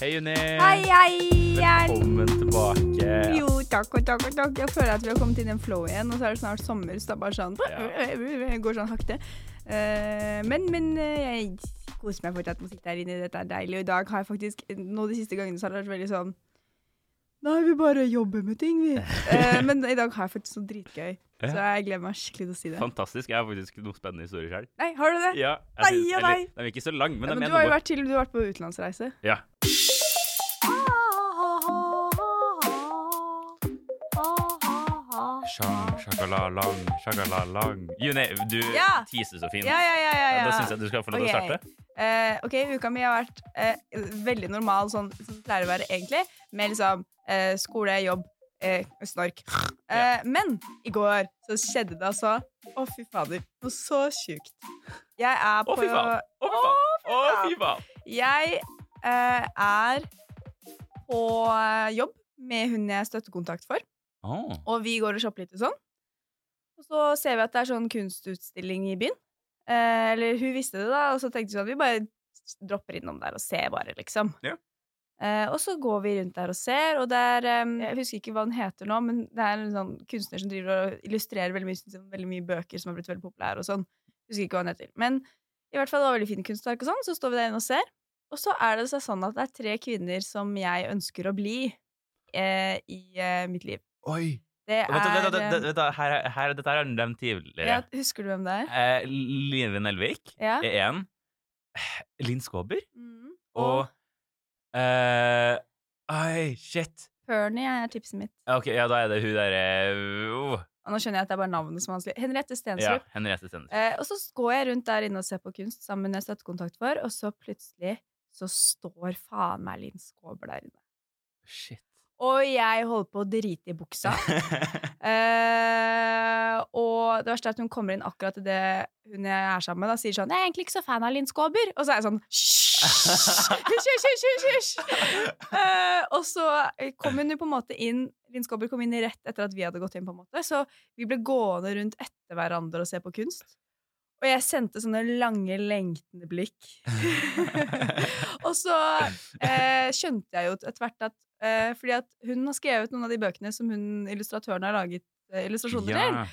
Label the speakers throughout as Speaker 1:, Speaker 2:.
Speaker 1: Hei, Unni.
Speaker 2: Hei, hei, hei.
Speaker 1: Velkommen tilbake.
Speaker 2: Jo, takk og takk og takk. Jeg føler at vi har kommet inn i en flow igjen, og så er det snart sommer, så det er bare sånn Går sånn hakte. Eh, men, men eh, jeg koser meg fortsatt med å sitte her inne. Dette er deilig. Og i dag har jeg faktisk Nå de siste gangene så har det vært veldig sånn Nei, vi bare jobber med ting, vi. Eh, men i dag har jeg faktisk noe dritgøy.
Speaker 1: Ja.
Speaker 2: Så jeg gleder meg skikkelig til å si det.
Speaker 1: Fantastisk. Jeg har faktisk noen spennende historier sjøl.
Speaker 2: Nei, har du det?
Speaker 1: Ja, jeg
Speaker 2: Nei,
Speaker 1: synes-
Speaker 2: ja,
Speaker 1: eller,
Speaker 2: nei.
Speaker 1: Den er ikke så lang, men,
Speaker 2: Ja,
Speaker 1: den
Speaker 2: men
Speaker 1: er
Speaker 2: du har jo
Speaker 1: noe.
Speaker 2: vært til Du har vært på utenlandsreise.
Speaker 1: Ja. Sjang, sjakalalang, sjakalalang. Juni, du
Speaker 2: Ja.
Speaker 1: teaser så fint.
Speaker 2: Ja, ja, ja, ja, ja.
Speaker 1: Da syns jeg du skal få lov til å
Speaker 2: Ok.
Speaker 1: starte.
Speaker 2: Eh, OK, uka mi har vært eh, veldig normal, sånn som det pleier å være egentlig, med liksom eh, skole, jobb, eh, snork. Eh, Men i går så skjedde det altså Å, fy fader. Noe så sjukt. Jeg er
Speaker 1: Å,
Speaker 2: på
Speaker 1: fy faen. Å, fy faen. Å, fy faen.
Speaker 2: Jeg eh, er på eh, jobb med hun jeg er støttekontakt for,
Speaker 1: Å,
Speaker 2: og vi går og shopper litt og sånn. Og så ser vi at det er sånn kunstutstilling i byen. Eh, eller hun visste det, da, og så tenkte vi sånn Vi bare dropper innom der og ser, bare, liksom.
Speaker 1: Ja.
Speaker 2: Eh, og så går vi rundt der og ser, og det er eh, Jeg husker ikke hva den heter nå, men det er en sånn kunstner som driver og illustrerer veldig mye, sånn, veldig mye bøker som har blitt veldig populære og sånn. Husker ikke hva den heter. Men i hvert fall det var veldig fine kunstverk og sånn, så står vi der inne og ser. Og så er det så sånn at det er tre kvinner som jeg ønsker å bli eh, i eh, mitt liv.
Speaker 1: Oi.
Speaker 2: Det
Speaker 1: Vent, da, vent, da,
Speaker 2: er um,
Speaker 1: vent, da, vent, da. Her, er- her, er- dette her har du nevnt tidligere.
Speaker 2: ja, Husker du hvem det er?
Speaker 1: Eh, Line Nelvik
Speaker 2: Ja.
Speaker 1: er E én. Linn Skåber
Speaker 2: Mm.
Speaker 1: og eh, Oi, shit.
Speaker 2: Pernie er tipset mitt.
Speaker 1: Ja, Ok, ja, da er det hun derre uh,
Speaker 2: Og nå skjønner jeg at det er bare navnet som er vanskelig. Henriette
Speaker 1: Ja,
Speaker 2: Stensrup.
Speaker 1: Henriette Stender.
Speaker 2: Eh, og så går jeg rundt der inne og ser på kunst sammen med støttekontakt for, og så plutselig så står faen meg Linn Skåber der inne.
Speaker 1: Shit.
Speaker 2: Og jeg holder på å drite i buksa. Eh, og det verste er at hun kommer inn akkurat til det hun jeg er sammen med, da, sier sånn 'Jeg er egentlig ikke så fan av Linn Skåber'. Og så er jeg sånn Hysj! Hysj, hysj, hysj, hysj, hysj! Eh, og så kom hun jo på en måte inn Linn Skåber kom inn rett etter at vi hadde gått inn, på en måte. Så vi ble gående rundt etter hverandre og se på kunst. Og jeg sendte sånne lange, lengtende blikk. og så eh, skjønte jeg jo etter hvert at eh, Fordi at hun har skrevet noen av de bøkene som hun, illustratøren har laget eh, illustrasjoner til.
Speaker 1: Ja.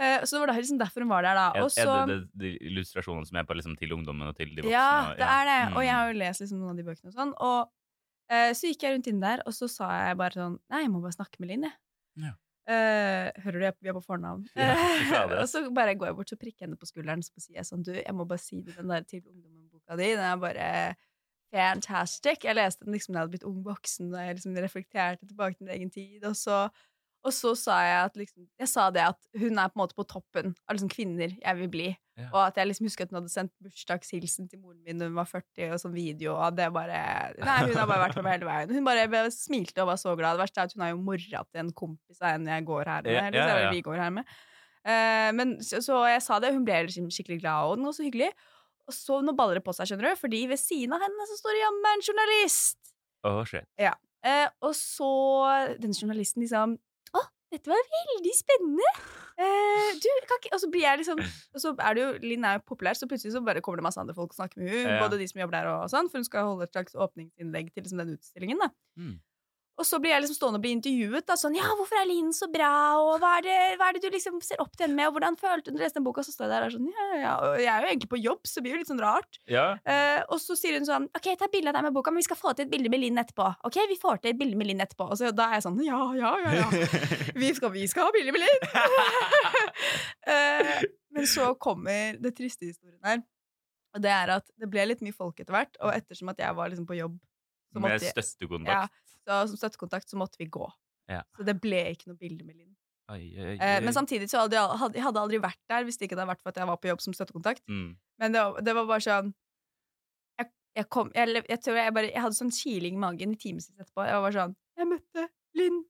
Speaker 2: Eh, så det var da liksom derfor hun var der, da.
Speaker 1: Er,
Speaker 2: Og så,
Speaker 1: er det, det de illustrasjonene som er på liksom, til ungdommen og til de voksne?
Speaker 2: ja,
Speaker 1: og-
Speaker 2: det er det. Og jeg
Speaker 1: Mm.
Speaker 2: har jo lest liksom noen av de bøkene og sånn. Og eh, så gikk jeg rundt inn der, og så sa jeg bare sånn Nei, jeg må bare snakke med Linn, jeg.
Speaker 1: Ja.
Speaker 2: Eh, hører du, jeg- vi er på fornavn.
Speaker 1: Ja, fy fader.
Speaker 2: og så bare går jeg bort og prikker jeg henne på skulderen så sier jeg sånn Du, jeg må bare si det, den der til ungdommen-boka di, den er bare fantastic. Jeg leste den liksom da jeg hadde blitt ung voksen, og jeg liksom reflekterte tilbake til min egen tid. Og så, og så sa jeg at liksom, jeg sa det at hun er på en måte på toppen av liksom kvinner jeg vil bli.
Speaker 1: Ja.
Speaker 2: Og at jeg liksom husker at hun hadde sendt bursdagshilsen til moren min da hun var 40, og sånn video, og det bare Nei, hun har bare vært med meg hele veien. Hun bare be- smilte og var så glad. Det verste er at hun er jo mora til en kompis av en jeg går her med.
Speaker 1: Ja,
Speaker 2: Eller
Speaker 1: ja,
Speaker 2: så er det
Speaker 1: ja.
Speaker 2: vi går her med. Eh, men så, så jeg sa det, og hun ble liksom skikkelig glad, og den var så hyggelig. Og så nå baller det på seg, skjønner du, fordi ved siden av henne så står det jammen en journalist.
Speaker 1: Å, shit.
Speaker 2: Eh, og så den journalisten liksom Å, dette var veldig spennende! Eh, du, kan ikke Og så blir jeg liksom Og så er det jo Linn er jo populær, så plutselig så bare kommer det masse andre folk og snakker med henne,
Speaker 1: Ja.
Speaker 2: både de som jobber der og sånn, for hun skal holde et slags åpningsinnlegg til liksom, den utstillingen, da.
Speaker 1: Mm.
Speaker 2: Og så blir jeg liksom stående og bli intervjuet. Da, sånn, ja, 'Hvorfor er Linn så bra?' og hva er, det, 'Hva er det du liksom ser opp til henne med?' og 'Hvordan følte hun du leste den boka?' Og så står jeg der og er sånn ja, ja, ja. Og jeg er jo egentlig på jobb, så det blir jo litt sånn rart.
Speaker 1: Ja.
Speaker 2: Eh, og så sier hun sånn Ok, ta bilde av deg med boka, men vi skal få til et bilde med Linn etterpå. Ok, vi får til et bilde med Linn etterpå Og så da er jeg sånn Ja, ja, ja. ja. Vi, skal, vi skal ha bilde med Linn! Eh, men så kommer det triste i historien her. Og det er at det ble litt mye folk etter hvert, og ettersom at jeg var liksom på jobb, så,
Speaker 1: Med
Speaker 2: måtte jeg, Ja.
Speaker 1: støttekontakt.
Speaker 2: så som støttekontakt så måtte vi gå.
Speaker 1: Ja.
Speaker 2: Så det ble ikke noe bilde med Linn.
Speaker 1: Oi, oi, oi.
Speaker 2: Eh, men samtidig så hadde jeg, hadde, jeg hadde aldri vært der hvis det ikke hadde vært for at jeg var på jobb som støttekontakt.
Speaker 1: Mm.
Speaker 2: Men det, var- det var bare sånn Jeg, jeg kom jeg, lev- jeg tror jeg bare Jeg hadde sånn kiling i magen i timevis etterpå. Jeg var bare sånn Jeg møtte Linn.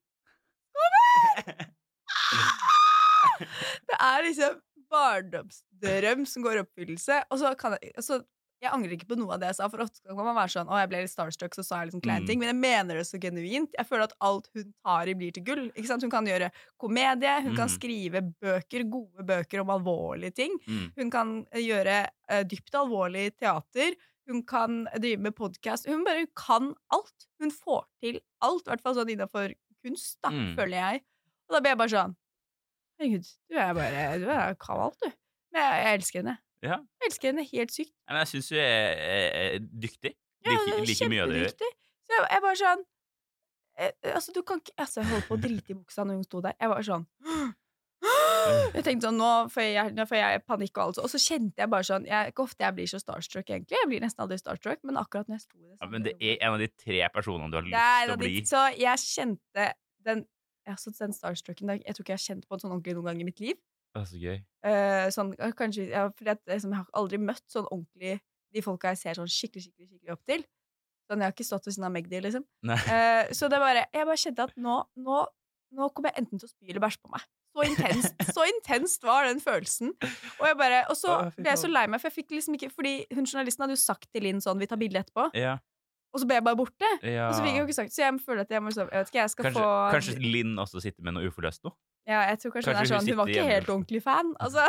Speaker 2: Det er liksom barndomsdrøm som går i oppfyllelse. Og så kan jeg altså, Jeg angrer ikke på noe av det jeg sa, for ofte kan man være sånn Å, jeg ble litt starstruck, så sa jeg liksom kleine
Speaker 1: Mm.
Speaker 2: ting. Men jeg mener det så genuint. Jeg føler at alt hun tar i, blir til gull. Ikke sant? Hun kan gjøre komedie, hun kan
Speaker 1: Mm.
Speaker 2: skrive bøker, gode bøker om alvorlige ting.
Speaker 1: Mm.
Speaker 2: Hun kan eh, gjøre eh, dypt alvorlig teater. hun kan drive med podkast. Hun bare kan alt. Hun får til alt, i hvert fall sånn innafor kunst, da,
Speaker 1: Mm.
Speaker 2: føler jeg. Og da blir jeg bare sånn Herregud, du er bare Du er, kan alt, du. Men jeg, jeg elsker henne.
Speaker 1: Ja.
Speaker 2: Jeg elsker henne helt sykt.
Speaker 1: Nei, Men jeg syns du er, er, er dyktig.
Speaker 2: Ja,
Speaker 1: Like,
Speaker 2: det er
Speaker 1: like mye av det du gjør.
Speaker 2: kjempedyktig. Så jeg, jeg bare sånn eh, Altså, du kan ikke Altså, jeg holdt på å drite i buksa når hun sto der. Jeg var sånn Jeg tenkte sånn Nå får jeg, nå får jeg panikk og alt. Og så kjente jeg bare sånn jeg, Ikke ofte jeg blir så starstruck, egentlig. Jeg blir nesten aldri starstruck, men akkurat når jeg sto i det
Speaker 1: Ja,
Speaker 2: samme
Speaker 1: men det
Speaker 2: rommet-
Speaker 1: er en av de tre personene du har
Speaker 2: Det
Speaker 1: lyst
Speaker 2: er
Speaker 1: til å
Speaker 2: da
Speaker 1: bli.
Speaker 2: ditt- Så jeg kjente den Jeg har den starstrucken der. Jeg tror ikke jeg har kjent på den sånn ordentlig noen gang i mitt liv.
Speaker 1: Det er så gøy.
Speaker 2: Eh, sånn, eh, kanskje, ja, fordi at, liksom, jeg har aldri møtt sånn ordentlig de folka jeg ser sånn skikkelig skikkelig, skikkelig opp til. Sånn, Jeg har ikke stått ved siden av Magdi, liksom.
Speaker 1: Nei.
Speaker 2: Eh, så det er bare, jeg bare kjente at nå, nå, nå kommer jeg enten til å spy eller bæsje på meg. Så intenst, så intenst var den følelsen. Og, jeg bare, og så
Speaker 1: Å, fy
Speaker 2: ble jeg så
Speaker 1: faen.
Speaker 2: lei meg, for jeg fikk liksom ikke Fordi hun journalisten hadde jo sagt til Linn sånn 'Vi tar bilde etterpå',
Speaker 1: Ja,
Speaker 2: og så ble jeg bare borte.
Speaker 1: ja.
Speaker 2: Og så fikk jeg jo ikke sagt Så jeg føler at jeg må liksom Jeg vet ikke, jeg skal
Speaker 1: Ah.
Speaker 2: få
Speaker 1: Kanskje, kanskje Linn også sitter med noe uforløst nå?
Speaker 2: Ja, jeg tror kanskje, hun er
Speaker 1: kanskje hun
Speaker 2: sånn Hun var
Speaker 1: sitter
Speaker 2: ikke
Speaker 1: hjemme.
Speaker 2: helt ordentlig fan, altså.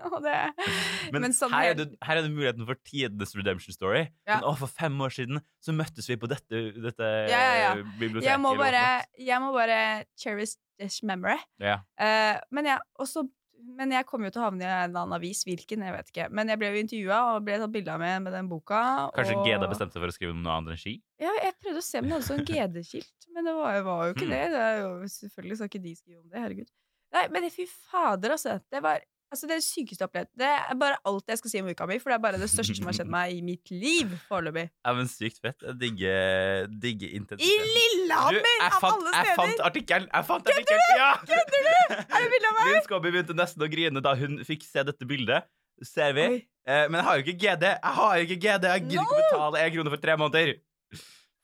Speaker 2: og det
Speaker 1: Men,
Speaker 2: Men sånn
Speaker 1: her, er
Speaker 2: helt-
Speaker 1: det, her er det muligheten for tidenes redemption story.
Speaker 2: Ja.
Speaker 1: Men å, for fem år siden så møttes vi på dette, dette eh,
Speaker 2: ja, ja.
Speaker 1: biblioteket.
Speaker 2: Jeg må
Speaker 1: eller
Speaker 2: bare,
Speaker 1: noe sånt.
Speaker 2: jeg må bare cherish this memory.
Speaker 1: Ja.
Speaker 2: Eh, men, jeg, også, men jeg kom jo til å havne i en eller annen avis, hvilken, jeg vet ikke. Men jeg ble jo intervjua og ble tatt bilde av med, med den boka.
Speaker 1: Kanskje
Speaker 2: og...
Speaker 1: Geda bestemte seg for å skrive om noe annet enn ski?
Speaker 2: Ja, jeg prøvde å se om det hadde sånn GD-skilt, men det var, var jo ikke
Speaker 1: Hmm.
Speaker 2: det. det er jo, selvfølgelig skal ikke de skrive om det, herregud. Nei, men det- fy fader, altså. Det var altså, det sykeste jeg har opplevd. Det er bare alt jeg skal si om uka mi, for det er bare det største som har skjedd meg i mitt liv foreløpig.
Speaker 1: Ja, men sykt fett. Jeg digger, digger
Speaker 2: I
Speaker 1: intensiteten. Du,
Speaker 2: Lillehammer,
Speaker 1: jeg
Speaker 2: av
Speaker 1: fant,
Speaker 2: alle
Speaker 1: jeg
Speaker 2: steder!
Speaker 1: fant artikkelen! Jeg fant artikkelen! Ja!
Speaker 2: Kødder du?! Er det bilde av meg?
Speaker 1: Linn Skåber begynte nesten å grine da hun fikk se dette bildet. Ser vi.
Speaker 2: Oi.
Speaker 1: Eh, men jeg har jo ikke GD! Jeg har jo ikke GD! Jeg gidder ikke betale én krone for tre måneder!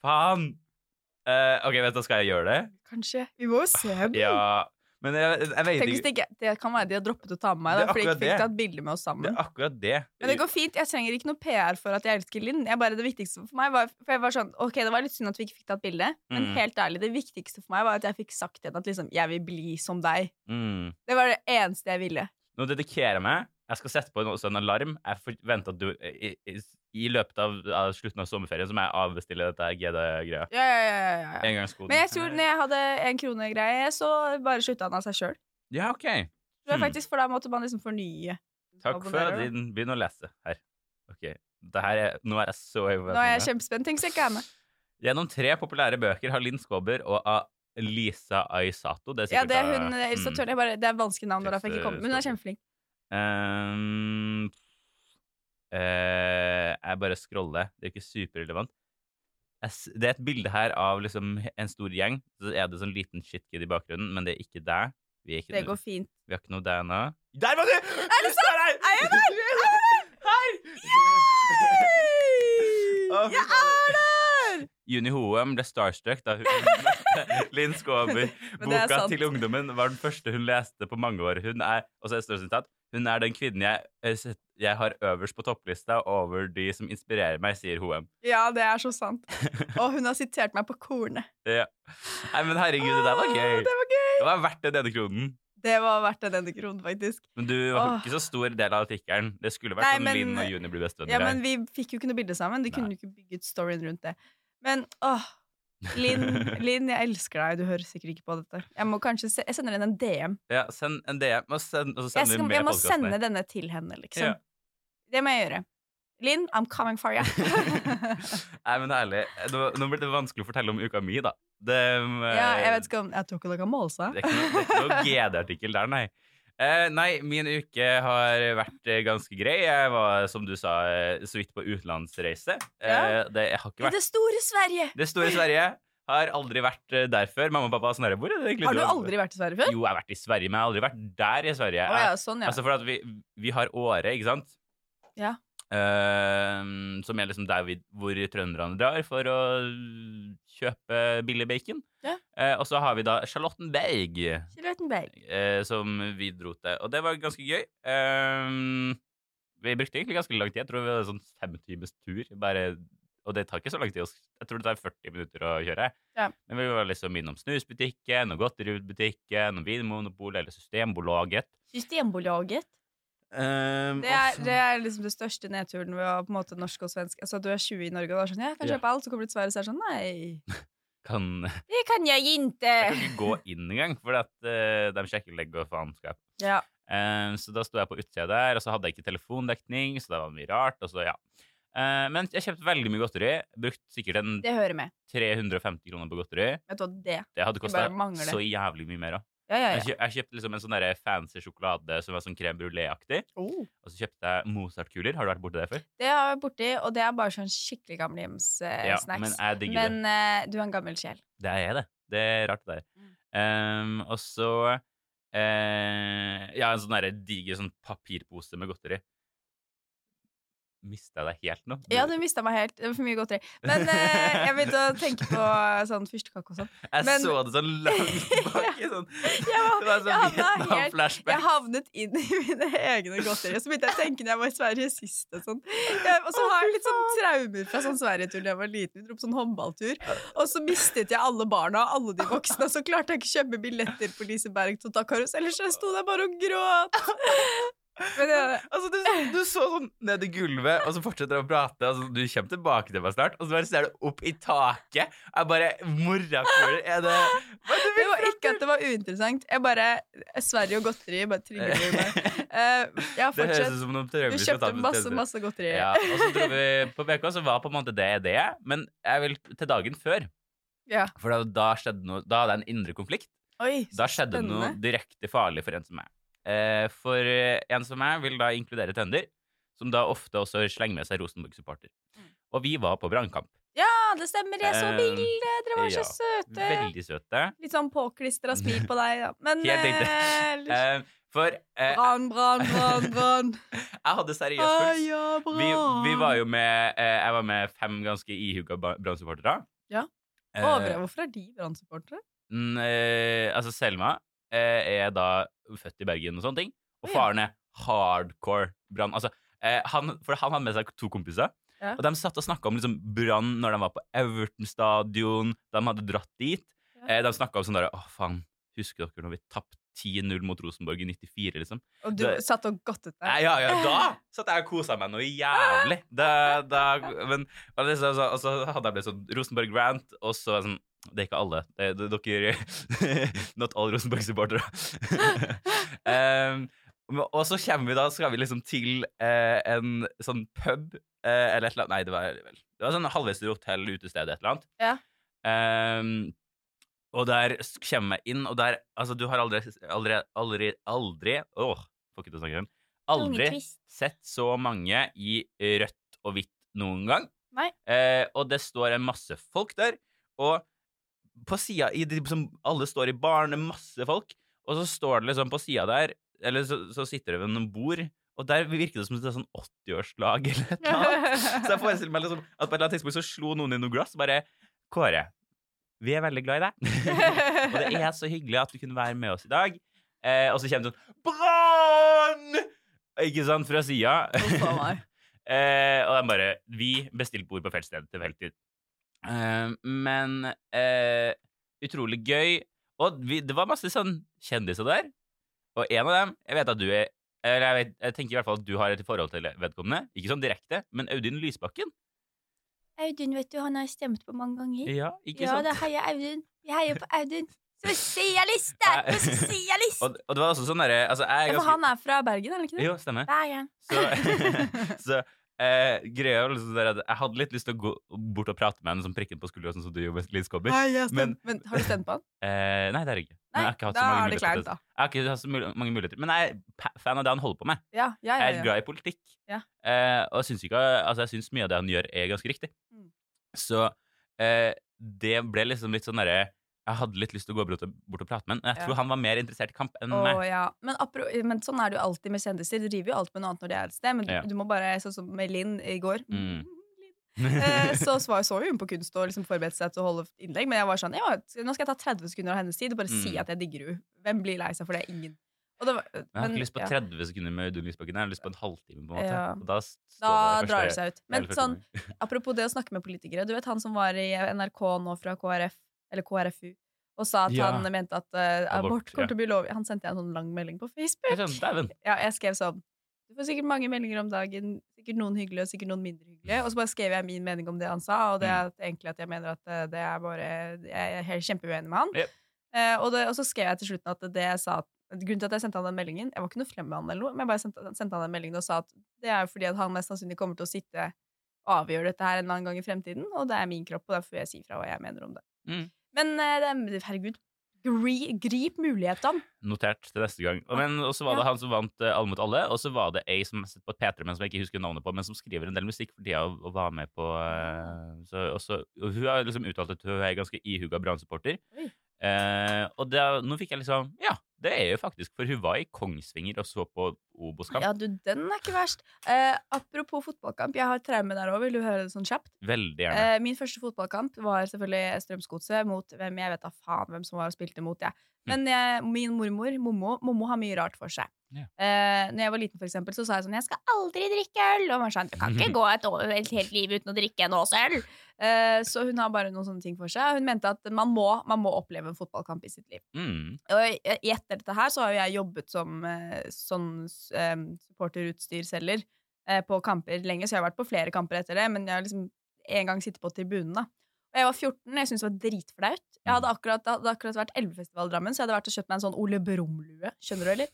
Speaker 1: Faen! Eh, OK, vet du, skal jeg gjøre det?
Speaker 2: Kanskje. Vi må jo se dem.
Speaker 1: Ah, Ja. Men jeg, jeg vet
Speaker 2: Tenk hvis
Speaker 1: ikke
Speaker 2: det ikke Det kan være de har droppet å ta med meg, da,
Speaker 1: Det er
Speaker 2: fordi jeg
Speaker 1: akkurat
Speaker 2: fikk
Speaker 1: det.
Speaker 2: tatt bilde med oss
Speaker 1: Det
Speaker 2: sammen.
Speaker 1: er akkurat det.
Speaker 2: Men det går fint. Jeg trenger ikke noe PR for at jeg elsker Linn. Jeg bare, det viktigste for meg var For jeg var sånn Ok, det var litt synd at vi ikke fikk tatt bilde, men
Speaker 1: Mm.
Speaker 2: helt ærlig, det viktigste for meg var at jeg fikk sagt til henne at liksom Jeg vil bli som deg.
Speaker 1: Mm.
Speaker 2: Det var det eneste jeg ville.
Speaker 1: Nå dedikerer jeg meg. Jeg skal sette på en, også en alarm. Jeg forventer at du i, i, i løpet av, av slutten av sommerferien så må jeg avbestille dette GD-greia.
Speaker 2: Ja, ja, ja, ja, ja, ja.
Speaker 1: Engangskoden.
Speaker 2: Men jeg tror når jeg hadde en krone-greie, så bare slutta han av seg sjøl.
Speaker 1: Ja, OK. Hmm.
Speaker 2: For da måtte man liksom fornye.
Speaker 1: Takk for at
Speaker 2: Abonnerer, da.
Speaker 1: din Begynn å lese her. OK. Det her er, nå er jeg så
Speaker 2: Nå er
Speaker 1: i
Speaker 2: jeg
Speaker 1: forventningene.
Speaker 2: kjempespent. Tenk så jeg ikke er med.
Speaker 1: Gjennom tre populære bøker har Linn Skåber og A- Lisa Aisato Det er
Speaker 2: Ja,
Speaker 1: sikkert
Speaker 2: det er
Speaker 1: da-
Speaker 2: hun eh, Elsa
Speaker 1: Mm.
Speaker 2: Tørn. Jeg bare, det er vanskelig navn, og derfor jeg ikke kommer. Men hun er kjempeflink.
Speaker 1: Ehm, eh, jeg bare scroller. Det er ikke superrelevant. Jeg s- Det er et bilde her av liksom en stor gjeng. Så er det sånn liten shitkid i bakgrunnen, men det er ikke deg. Vi er ikke
Speaker 2: Det
Speaker 1: noe-
Speaker 2: går fint.
Speaker 1: vi har ikke noe deg nå. Der var du! Er
Speaker 2: det
Speaker 1: sant?
Speaker 2: Er jeg der?
Speaker 1: Å, fy
Speaker 2: Jeg er der!
Speaker 1: Juni Hoem ble starstruck da hun møtte Linn Skåber.
Speaker 2: Men det er
Speaker 1: Boka
Speaker 2: sant.
Speaker 1: til ungdommen var den første hun leste på mange år. Hun er, og så er det større sitat, hun er den kvinnen jeg, jeg set- jeg har øverst på topplista over de som inspirerer meg, sier Hoem.
Speaker 2: Ja, det er så sant. Og hun har sitert meg på kornet.
Speaker 1: Ja. Nei, men herregud, det der var
Speaker 2: Åh,
Speaker 1: gøy.
Speaker 2: Det var gøy!
Speaker 1: Det var verdt den ene kronen.
Speaker 2: Det var verdt en ende kronen, faktisk.
Speaker 1: Men du var
Speaker 2: Åh.
Speaker 1: ikke så stor del av artikkelen. Det skulle vært
Speaker 2: Nei,
Speaker 1: sånn
Speaker 2: men-
Speaker 1: Linn og Juni blir bestevenner.
Speaker 2: Ja, men vi fikk jo ikke noe bilde sammen. De kunne jo ikke bygget storyen rundt det. Men åh Linn, Linn, jeg elsker deg. Du hører sikkert ikke på dette. Jeg må kanskje se, jeg sender henne en DM.
Speaker 1: ja, send en DM, og, send, og
Speaker 2: Jeg,
Speaker 1: så
Speaker 2: skal,
Speaker 1: sender vi med
Speaker 2: jeg må
Speaker 1: podcasten
Speaker 2: sende
Speaker 1: her.
Speaker 2: denne til henne, liksom.
Speaker 1: Ja.
Speaker 2: Det må jeg gjøre. Linn, I'm coming for you.
Speaker 1: Nei, men ærlig, nå, nå ble det vanskelig å fortelle om uka mi, da. Det,
Speaker 2: ja, jeg vet ikke om Jeg tror ikke dere kan måle seg.
Speaker 1: Eh, Det er ikke noe, det er ikke noe GD-artikkel der, nei. Eh, nei, min uke har vært eh, ganske grei. Jeg var, som du sa, eh, så vidt på utenlandsreise. Eh, det jeg har ikke
Speaker 2: I
Speaker 1: vært
Speaker 2: det store Sverige!
Speaker 1: Det store Sverige har aldri vært eh, der før. Mamma og pappa sånn her, hvor er det egentlig
Speaker 2: Har du aldri vært i Sverige før?
Speaker 1: Jo, jeg har vært i Sverige, men jeg har aldri vært der i Sverige.
Speaker 2: Å ja, sånn, ja.
Speaker 1: Altså for at vi, vi har Åre, ikke sant?
Speaker 2: Ja.
Speaker 1: Ehm, som er liksom der vi, hvor trønderne drar for å kjøpe billig bacon.
Speaker 2: Ja.
Speaker 1: Eh, og så har vi da Charlottenberg,
Speaker 2: Charlottenberg.
Speaker 1: eh, som vi dro til. Og det var ganske gøy. Ehm, vi brukte egentlig ganske lang tid. Jeg tror vi hadde sånn fem times tur. Bare, og det tar ikke så lang tid. å s- Jeg tror det tar 40 minutter å kjøre.
Speaker 2: Ja.
Speaker 1: Men vi var liksom innom snusbutikken og godteributikken og Vinmonopolet eller Systembolaget.
Speaker 2: Systembolaget.
Speaker 1: Ehm,
Speaker 2: Det er,
Speaker 1: og så-
Speaker 2: det er liksom det største nedturen ved å på en måte norsk og svensk Altså du er 20 i Norge og er sånn Ja, jeg kan
Speaker 1: Ja.
Speaker 2: kjøpe alt. Så kommer du til Sverige og så er det sånn Nei,
Speaker 1: kan, jeg
Speaker 2: det kan jeg ikke.
Speaker 1: kan ikke gå inn engang, for at, eh, de sjekker legg og faenskap.
Speaker 2: Ja.
Speaker 1: Ehm, så da sto jeg på utsida der, og så hadde jeg ikke telefondekning, så det var mye rart. Og så, ja. Eh, men jeg kjøpte veldig mye godteri. Brukt sikkert en
Speaker 2: Det hører med.
Speaker 1: 350 kroner på godteri.
Speaker 2: Vet du hva det
Speaker 1: Det hadde kosta
Speaker 2: bare mangler.
Speaker 1: så jævlig mye mer òg.
Speaker 2: Ja, ja,
Speaker 1: Jeg,
Speaker 2: ja.
Speaker 1: kjø- jeg kjøpte liksom en sånn der fancy sjokolade som var sånn crème brulé-aktig.
Speaker 2: Oh.
Speaker 1: Og så kjøpte jeg Mozart-kuler. Har du vært borti det før?
Speaker 2: Det er jeg borti, og det er bare sånn skikkelig
Speaker 1: Ja, men
Speaker 2: gamlehjemssnacks.
Speaker 1: jeg digger det.
Speaker 2: Eh, men eh, du er en gammel sjel.
Speaker 1: Det er jeg, det. Det er rart, det der.
Speaker 2: Mm.
Speaker 1: Ehm, og så eh, Ja, en sånn derre diger sånn papirpose med godteri. Mista jeg deg helt nå?
Speaker 2: Ja, du mista meg helt. Det var for mye godteri. Men eh, jeg begynte å tenke på sånn fyrstekake og sånn.
Speaker 1: jeg
Speaker 2: men-
Speaker 1: så det sånn langt baki. Sånn.
Speaker 2: Jeg, var,
Speaker 1: Det
Speaker 2: jeg
Speaker 1: var sånn
Speaker 2: havna helt Jeg
Speaker 1: Vietnam-flashback.
Speaker 2: havnet inn i mine egne godterier. Så begynte jeg å tenke når jeg var i Sverige sist og sånn. Jeg- Og så har jeg litt sånn traumer fra sånn Sverigetur da jeg var liten. Vi dro på sånn håndballtur. Og så mistet jeg alle barna og alle de voksne. Og så klarte jeg ikke kjøpe billetter på Liseberg til å ta karusell, ellers så jeg sto der bare og gråt. Men jeg,
Speaker 1: Altså, du, du så sånn ned i gulvet, og så fortsetter han å prate. Altså, du kommer tilbake til meg snart, og så bare ser du opp i taket. Jeg bare Morakuler, er det Hva er det du
Speaker 2: det
Speaker 1: vil
Speaker 2: var ikke at det var uinteressant. Jeg bare Sverige og godteri bare trigger meg. Eh, Ja,
Speaker 1: Det høres sånn
Speaker 2: fortsett.
Speaker 1: ut som noen
Speaker 2: Du
Speaker 1: traumer som er
Speaker 2: kjøpte
Speaker 1: tatt med
Speaker 2: masse,
Speaker 1: tjenester.
Speaker 2: masse godteri.
Speaker 1: Ja, og så dro vi på BK, så var på en måte det det. Men jeg vil til dagen før.
Speaker 2: Ja.
Speaker 1: For da, da skjedde noe, da hadde jeg en indre konflikt.
Speaker 2: Oi,
Speaker 1: Da skjedde det noe
Speaker 2: spennende.
Speaker 1: direkte farlig for en som meg. Eh, for eh, en som meg vil da inkludere Tønder, som da ofte også slenger med seg Rosenborg-supporter.
Speaker 2: Mm.
Speaker 1: Og vi var på brannkamp.
Speaker 2: Ja, det stemmer. Jeg så
Speaker 1: Eh,
Speaker 2: bildet. Dere var så
Speaker 1: ja.
Speaker 2: søte.
Speaker 1: Veldig søte.
Speaker 2: Litt sånn påklistra smil på deg, da. Men
Speaker 1: Helt riktig.
Speaker 2: eh, ellers-
Speaker 1: Eh, for eh,
Speaker 2: Brann, brann, brann, brann.
Speaker 1: jeg hadde seriøst
Speaker 2: Ah,
Speaker 1: puls.
Speaker 2: ja, brann.
Speaker 1: Vi, vi var jo med eh, Jeg var med fem ganske ihuga ba- brannsupportere.
Speaker 2: Ja.
Speaker 1: Eh,
Speaker 2: Overraskende. Hvorfor er de brannsupportere?
Speaker 1: Mm, eh, altså Selma eh, er da født i Bergen og sånne ting.
Speaker 2: Å,
Speaker 1: Og
Speaker 2: ja.
Speaker 1: faren er hardcore brann. Altså, eh, han, for han hadde med seg to kompiser.
Speaker 2: Ja.
Speaker 1: Og de satt og snakka om liksom, brann når de var på Everton stadion. De hadde dratt dit.
Speaker 2: Ja.
Speaker 1: Eh, de snakka om sånn derre Å, faen, husker dere når vi tapte 10-0 mot Rosenborg i 94, liksom?
Speaker 2: Og du
Speaker 1: det-
Speaker 2: satt og godtet
Speaker 1: Nei,
Speaker 2: deg.
Speaker 1: ja, ja, da satt jeg og kosa meg noe jævlig. Da, da, men, og, det, så, så, og så hadde jeg blitt sånn Rosenborg Rant, og så var jeg sånn Det er ikke alle. Det, det, dere Not all Rosenborg-supportere. Em, men- og så kommer vi da Skal vi liksom til eh, en sånn pub eh, eller et eller annet Nei, det var vel Det var sånn halvveis til hotell, utested, et eller annet.
Speaker 2: Ja.
Speaker 1: Em, og der s- kommer jeg inn, og der Altså, du har aldri Aldri Aldri, aldri Åh, får ikke til å snakke igjen. Aldri sett så mange i rødt og hvitt noen gang.
Speaker 2: Nei.
Speaker 1: Eh, og det står en masse folk der. Og på sida i de som Alle står i baren, det er masse folk. Og så står det liksom på sida der Eller så, så sitter det ved noen bord, og der virker det som det er sånn 80-årslag eller et eller annet. Så jeg forestiller meg liksom at på et eller annet tidspunkt så slo noen i noe glass. Bare Kåre, vi er veldig glad i deg. Og det er så hyggelig at du kunne være med oss i dag. Eh, og så kommer det sånn Brann! Ikke sant, fra sida.
Speaker 2: Uff a meg.
Speaker 1: eh, og de bare Vi bestilte bord på feltstedet til felttid. Eh, men eh, utrolig gøy. Og vi, det var masse sånn kjendiser der. Og en av dem Jeg vet at du er eller jeg, vet, jeg tenker i hvert fall at du har et forhold til vedkommende. Ikke sånn direkte, men Audun Lysbakken.
Speaker 2: Audun, vet du, han har jeg stemt på mange ganger.
Speaker 1: Ja, ikke sant?
Speaker 2: heier Audun. Vi heier på Audun. Sosialister!
Speaker 1: Nei.
Speaker 2: Sosialist!
Speaker 1: Og, og det var også sånn derre altså, jeg er
Speaker 2: Ja, for
Speaker 1: ganske-
Speaker 2: han er fra Bergen, er han ikke det?
Speaker 1: Jo, stemmer.
Speaker 2: Bergen.
Speaker 1: Så, så eh, greia var liksom der at jeg hadde litt lyst til å gå bort og prate med henne som prikken på skuldra, sånn som du gjør med Lill Skåber.
Speaker 2: Nei, jeg stemte-
Speaker 1: Men-
Speaker 2: Men har du stemt på han?
Speaker 1: Eh, nei, det er det ikke. Men
Speaker 2: Nei,
Speaker 1: jeg har ikke hatt
Speaker 2: da
Speaker 1: så mange
Speaker 2: er det
Speaker 1: muligheter til
Speaker 2: kleint,
Speaker 1: det.
Speaker 2: da.
Speaker 1: Jeg har ikke hatt så mul- mange muligheter. Men jeg er pa- fan av det han holder på med.
Speaker 2: Ja, ja, ja,
Speaker 1: Jeg er
Speaker 2: ja.
Speaker 1: glad i politikk.
Speaker 2: Ja.
Speaker 1: Eh, og jeg syns, ikke, altså, jeg syns mye av det han gjør, er ganske riktig.
Speaker 2: Mm.
Speaker 1: Så eh, det ble liksom litt sånn derre Jeg hadde litt lyst til å gå bort og, bort og prate med ham, men jeg
Speaker 2: Ja.
Speaker 1: tror han var mer interessert i kamp enn
Speaker 2: Å,
Speaker 1: meg.
Speaker 2: ja. men, apro men sånn er det jo alltid med kjendiser. De driver jo alt med noe annet når de er et sted, men du,
Speaker 1: Ja.
Speaker 2: du må bare Sånn som med Linn i går.
Speaker 1: Mm.
Speaker 2: Eh, så, så, var- så jo hun på kunst og liksom forberedte seg til å holde innlegg, men jeg var sånn ja, Nå skal jeg ta 30 sekunder av hennes tid og bare si
Speaker 1: Mm.
Speaker 2: at jeg digger henne. Hvem blir lei seg for det? Ingen. Og det var,
Speaker 1: Jeg har
Speaker 2: men-
Speaker 1: ikke lyst på
Speaker 2: ja.
Speaker 1: 30 sekunder med Audun Lysbakken. Jeg har lyst på en halvtime. på en måte.
Speaker 2: Ja.
Speaker 1: Og da s- står
Speaker 2: Da
Speaker 1: det
Speaker 2: drar det
Speaker 1: første-
Speaker 2: seg ut.
Speaker 1: eller
Speaker 2: Men
Speaker 1: første
Speaker 2: sånn,
Speaker 1: gang.
Speaker 2: apropos det å snakke med politikere. Du vet han som var i NRK nå fra KrF, eller KrFU, og sa at
Speaker 1: Ja.
Speaker 2: han mente at eh,
Speaker 1: Abort,
Speaker 2: abort
Speaker 1: ja.
Speaker 2: kommer til å bli lovlig. Han sendte jeg en sånn lang melding på Facebook.
Speaker 1: Jeg skjønner, dæven.
Speaker 2: Ja, jeg skrev sånn Du får sikkert mange meldinger om dagen, sikkert noen hyggelige og sikkert noen mindre hyggelige. Og så bare skrev jeg min mening om det han sa, og det er at egentlig at jeg mener at eh, det er bare Jeg er helt kjempeuenig med han.
Speaker 1: Yep.
Speaker 2: Eh, og, det, og så skrev jeg til slutten at det jeg sa at Grunnen til at jeg sendte han den meldingen Jeg var ikke noe frem med han eller noe, men jeg bare sendte, sendte han den meldingen og sa at det er jo fordi at han mest sannsynlig kommer til å sitte og avgjøre dette her en eller annen gang i fremtiden, og det er min kropp, og derfor vil jeg si fra hva jeg mener om det.
Speaker 1: Mm.
Speaker 2: Men eh, det er, herregud, gri, grip mulighetene!
Speaker 1: Notert til neste gang. Og, men, og så var det han som vant eh, Alle mot alle, og så var det ei som sitter på P3, men som jeg ikke husker navnet på, men som skriver en del musikk for tida og, og var med på eh, så, og så, og Hun har liksom uttalt at hun er ganske ihuga Brann-supporter.
Speaker 2: Oi.
Speaker 1: Eh, og da- nå fikk jeg liksom Ja, det er jo faktisk For hun var i Kongsvinger og så på Obos-kamp.
Speaker 2: Ja, du, den er ikke verst. Eh, apropos fotballkamp, jeg har et traume der òg, vil du høre det sånn kjapt?
Speaker 1: Veldig gjerne.
Speaker 2: Eh, min første fotballkamp var selvfølgelig Strømsgodset mot hvem jeg vet da faen hvem som var og spilte mot. Jeg.
Speaker 1: Mm.
Speaker 2: Men jeg, min mormor, Mommo, Mommo har mye rart for seg.
Speaker 1: Ja.
Speaker 2: Eh, når jeg var liten, for eksempel, så sa jeg sånn 'Jeg skal aldri drikke øl!' Og man sånn 'Du kan ikke gå et, år, et helt liv uten å drikke en ås øl!' Eh, så hun har bare noen sånne ting for seg. Hun mente at man må, man må oppleve en fotballkamp i sitt liv.
Speaker 1: Mm.
Speaker 2: Og i- i etter dette her så har jo jeg jobbet som eh, sånn eh, supporterutstyrselger eh, på kamper lenge, så jeg har vært på flere kamper etter det, men jeg har liksom en gang sittet på tribunen, da. Og jeg var 14, jeg syntes det var dritflaut. Jeg hadde akkurat, det hadde akkurat vært Elvefestival i Drammen, så jeg hadde vært og kjøpt meg en sånn Ole Brumm-lue. Skjønner du, eller?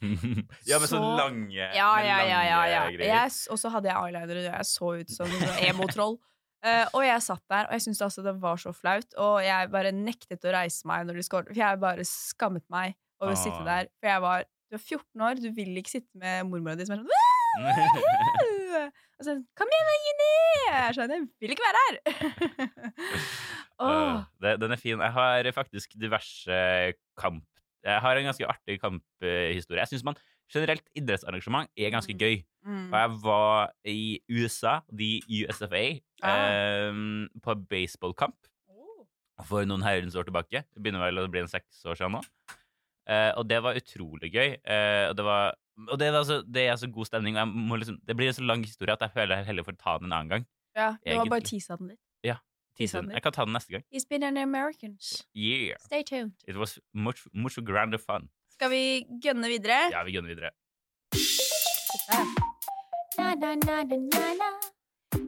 Speaker 1: ja, med sånne
Speaker 2: Så-
Speaker 1: lange,
Speaker 2: Ja,
Speaker 1: med
Speaker 2: ja,
Speaker 1: lange
Speaker 2: ja, ja, ja.
Speaker 1: greier.
Speaker 2: Jeg s- Og så hadde jeg eyeliner, og jeg så ut som en emo-troll. Eh, og jeg satt der, og jeg syntes altså det var så flaut. Og jeg bare nektet å reise meg når de skåret. For jeg bare skammet meg over å sitte
Speaker 1: Ah.
Speaker 2: der. For jeg var Du er 14 år, du vil ikke sitte med mormora di som er sånn
Speaker 1: Eh,
Speaker 2: «Woo!» Og så er hun, Kom igjen, da, Jenny! Jeg skjønner, jeg vil ikke være her! Åh.
Speaker 1: Øh, det, den er fin. Jeg har faktisk diverse kamp... Jeg har en ganske artig kamphistorie. Jeg syns man generelt idrettsarrangement er ganske
Speaker 2: Mm.
Speaker 1: gøy. Og
Speaker 2: Mm.
Speaker 1: jeg var i USA, the USFA,
Speaker 2: Ah.
Speaker 1: ehm, på baseballkamp
Speaker 2: Oh,
Speaker 1: for noen herrens år tilbake. Det begynner vel å bli en seks år siden nå. Eh, og det var utrolig gøy. Eh, og det var og det, var så, det er så god stemning. Og jeg må liksom, det blir en så lang historie at jeg føler jeg heller får ta den en annen gang.
Speaker 2: Ja, det var bare
Speaker 1: egentlig.
Speaker 2: teasa den litt.
Speaker 1: Tisen. Jeg kan ta den neste gang.
Speaker 2: He's been an Americans.
Speaker 1: Yeah.
Speaker 2: Stay tuned.
Speaker 1: It was much, much grander fun.
Speaker 2: Skal vi gønne videre?
Speaker 1: Ja, vi gønner videre.
Speaker 3: Na na na na na na.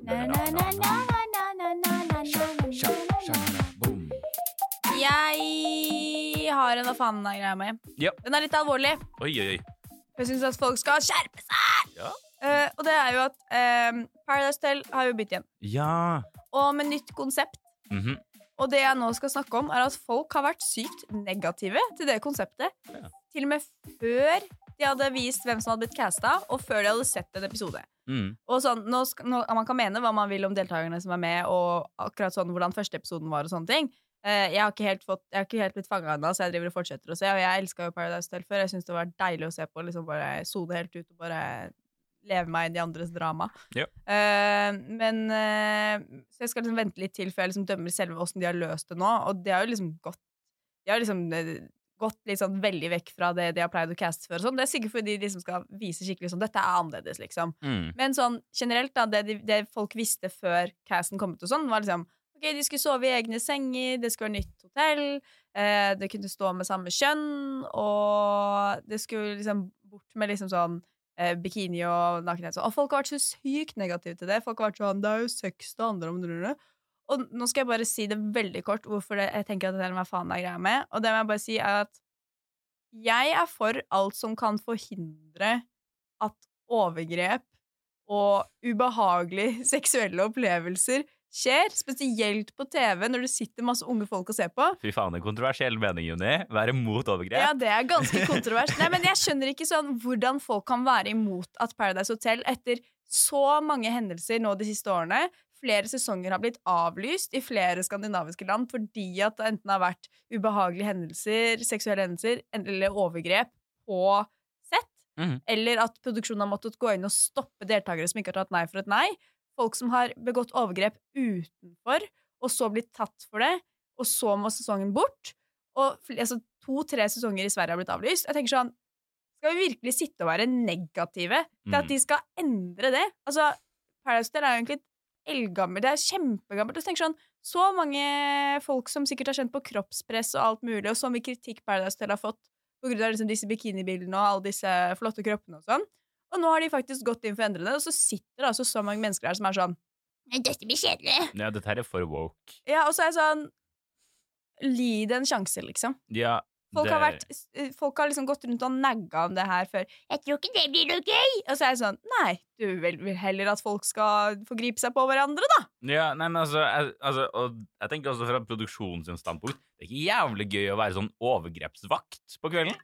Speaker 3: Na na na na na na na na na na na na.
Speaker 2: Jeg har en hva faen er greia med.
Speaker 1: Ja.
Speaker 2: Den er litt alvorlig.
Speaker 1: Oi, oi, oi.
Speaker 2: Jeg syns at folk skal skjerpe seg!
Speaker 1: Ja.
Speaker 2: Eh, og det er jo at eh, Paradise Tell har jo begynt igjen.
Speaker 1: Ja.
Speaker 2: Og med nytt konsept.
Speaker 1: Mhm.
Speaker 2: Og det jeg nå skal snakke om, er at folk har vært sykt negative til det konseptet.
Speaker 1: Ja.
Speaker 2: Til og med før de hadde vist hvem som hadde blitt casta, og før de hadde sett en episode.
Speaker 1: mm.
Speaker 2: Og sånn, nå skal, nå, Man kan mene hva man vil om deltakerne som er med, og akkurat sånn hvordan første episoden var. og sånne ting. Eh, jeg, har ikke helt fått, jeg har ikke helt blitt fanga ennå, så jeg driver og fortsetter å se. Og jeg elska jo Paradise Hotel før. Jeg syns det var deilig å se på. liksom bare Sone helt ut og bare leve meg inn i andres drama.
Speaker 1: Ja.
Speaker 2: Eh, men eh, Så jeg skal liksom vente litt til før jeg liksom dømmer selve åssen de har løst det nå. Og det har jo liksom gått De har liksom eh, gått litt sånn veldig vekk fra det de har pleid å caste før. og sånn. Det er sikkert fordi de liksom skal vise skikkelig sånn Dette er annerledes, liksom.
Speaker 1: Mm.
Speaker 2: Men sånn generelt, da, det, de- det folk visste før casten kom ut og sånn, var liksom Ok, de skulle sove i egne senger, det skulle være nytt hotell, eh, det kunne stå med samme kjønn, og det skulle liksom bort med liksom sånn eh, bikini og nakenhet. Og folk har vært så sykt negative til det. Folk har vært sånn Det er jo sex det handler om. drønner. Og nå skal jeg bare si det veldig kort hvorfor det, jeg tenker at det er hva faen det er greia med. Og det må jeg bare si, er at jeg er for alt som kan forhindre at overgrep og ubehagelige seksuelle opplevelser skjer, spesielt på TV, når det sitter masse unge folk og ser på.
Speaker 1: Fy faen, en kontroversiell mening, Juni. Være mot
Speaker 2: Ja,
Speaker 1: overgrep.
Speaker 2: det er ganske kontrovers. Nei, men jeg skjønner ikke sånn hvordan folk kan være imot at Paradise Hotel etter så mange hendelser nå de siste årene Flere sesonger har blitt avlyst i flere skandinaviske land fordi at det enten har vært ubehagelige hendelser, seksuelle hendelser eller overgrep på sett.
Speaker 1: Mhm.
Speaker 2: Eller at produksjonen har måttet gå inn og stoppe deltakere som ikke har tatt nei for et nei. Folk som har begått overgrep utenfor, og så blitt tatt for det, og så må sesongen bort. Og fl- altså, to-tre sesonger i Sverige har blitt avlyst. Jeg tenker sånn Skal vi virkelig sitte og være negative til at
Speaker 1: Mm.
Speaker 2: de skal endre det? Altså, Paradise Hotel er jo egentlig et eldgammelt Det er kjempegammelt. Og så tenker jeg sånn Så mange folk som sikkert har kjent på kroppspress og alt mulig, og så mye kritikk Paradise Hotel har fått på grunn av liksom disse bikinibildene og alle disse flotte kroppene og sånn. Og nå har de faktisk gått inn for å endre det, og så sitter det altså så mange mennesker her som er sånn «Nei, Dette blir kjedelig.
Speaker 1: Ja, dette her er for woke.
Speaker 2: Ja, og så er jeg sånn Gi det en sjanse, liksom.
Speaker 1: Ja,
Speaker 2: Folk,
Speaker 1: det-
Speaker 2: har, vært, eh, folk har liksom gått rundt og nagga om det her før. 'Jeg tror ikke det blir noe gøy!' Og så er jeg sånn Nei, du vil, vil heller at folk skal forgripe seg på hverandre, da.
Speaker 1: Ja, nei, men altså, jeg, altså og jeg tenker også fra produksjonens standpunkt Det er ikke jævlig gøy å være sånn overgrepsvakt på kvelden.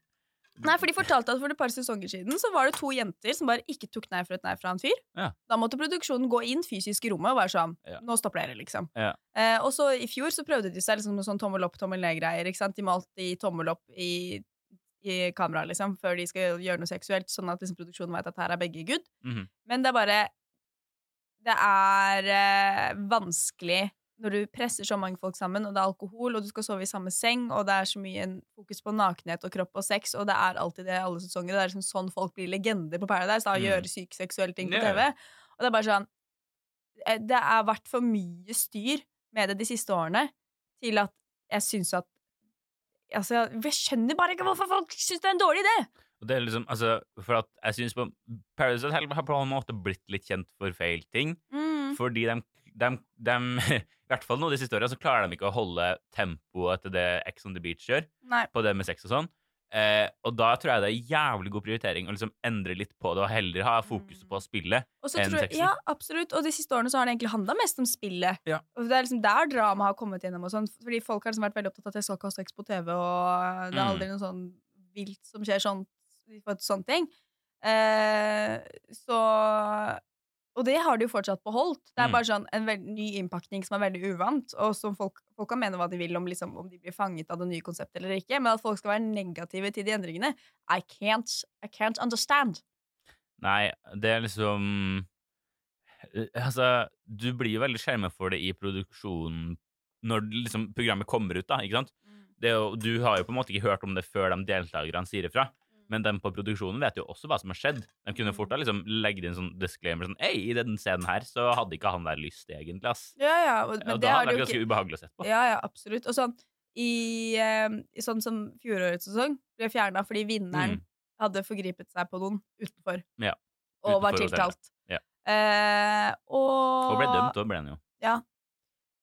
Speaker 2: Nei, for de fortalte at for et par sesonger siden så var det to jenter som bare ikke tok nei for et nei fra en fyr.
Speaker 1: Ja.
Speaker 2: Da måtte produksjonen gå inn fysisk i rommet og være sånn
Speaker 1: Ja.
Speaker 2: Nå stopper dere, liksom.
Speaker 1: Ja.
Speaker 2: Eh, og så i fjor så prøvde de seg liksom med sånn tommel opp, tommel ned-greier. ikke sant? De malte i tommel opp i, i kameraet, liksom, før de skal gjøre noe seksuelt, sånn at liksom produksjonen veit at her er begge good.
Speaker 1: Mhm.
Speaker 2: Men det er bare Det er eh, vanskelig når du presser så mange folk sammen, og det er alkohol, og du skal sove i samme seng, og det er så mye en- fokus på nakenhet og kropp og sex, og det er alltid det i alle sesonger. og Det er liksom sånn folk blir legender på Paradise, da, å
Speaker 1: Mm.
Speaker 2: gjøre syke seksuelle ting på
Speaker 1: Ja.
Speaker 2: TV. Og det er bare sånn eh, Det har vært for mye styr med det de siste årene til at jeg syns at Altså, jeg skjønner bare ikke hvorfor folk syns det er en dårlig idé!
Speaker 1: Og det er liksom, altså, for at jeg synes på Paradise Hotel har på en måte blitt litt kjent for feil ting.
Speaker 2: Mm.
Speaker 1: Fordi de, de, de I hvert fall nå de siste årene så klarer de ikke å holde tempoet til det Ex on the Beach gjør,
Speaker 2: Nei.
Speaker 1: på det med sex og sånn. Eh, og da tror jeg det er jævlig god prioritering å liksom endre litt på det, og heller ha fokuset på spillet.
Speaker 2: Og så
Speaker 1: enn
Speaker 2: tror,
Speaker 1: sexen.
Speaker 2: ja, absolutt. Og de siste årene så har det egentlig handla mest om spillet.
Speaker 1: Ja.
Speaker 2: Og det er liksom der drama har kommet gjennom. Og sånn, fordi folk har liksom vært veldig opptatt av at jeg skal ikke ha sex på TV, og det er
Speaker 1: Mm.
Speaker 2: aldri noe sånn vilt som skjer sånn, sånne ting. Eh, så Og det har de jo fortsatt beholdt. Det er
Speaker 1: Mm.
Speaker 2: bare sånn en veld, ny innpakning som er veldig uvant, og som folk, folk kan mene hva de vil om, liksom, om de blir fanget av det nye konseptet eller ikke, men at folk skal være negative til de endringene I can't, I can't understand.
Speaker 1: Nei, det er liksom Eh, Altså, du blir jo veldig skjermet for det i produksjonen når liksom programmet kommer ut, da, ikke sant? Det er jo, du har jo på en måte ikke hørt om det før de deltakerne sier ifra, men de på produksjonen vet jo også hva som har skjedd. De kunne fort ha liksom legge inn sånn disclaimer sånn Ei, i den scenen her så hadde ikke han der lyst, egentlig, ass.
Speaker 2: Ja, ja, og- men det
Speaker 1: og da
Speaker 2: har
Speaker 1: hadde
Speaker 2: de
Speaker 1: det
Speaker 2: jo
Speaker 1: vært
Speaker 2: ikke
Speaker 1: ganske ubehagelig å se på.
Speaker 2: Ja, ja, absolutt. Og sånn, i, eh, i sånn som fjorårets sesong ble fjerna fordi vinneren
Speaker 1: Mm.
Speaker 2: hadde forgripet seg på noen utenfor.
Speaker 1: Ja,
Speaker 2: Og var
Speaker 1: utenfor hotellet.
Speaker 2: tiltalt.
Speaker 1: Ja.
Speaker 2: Eh, og,
Speaker 1: Og ble dømt, og ble han jo.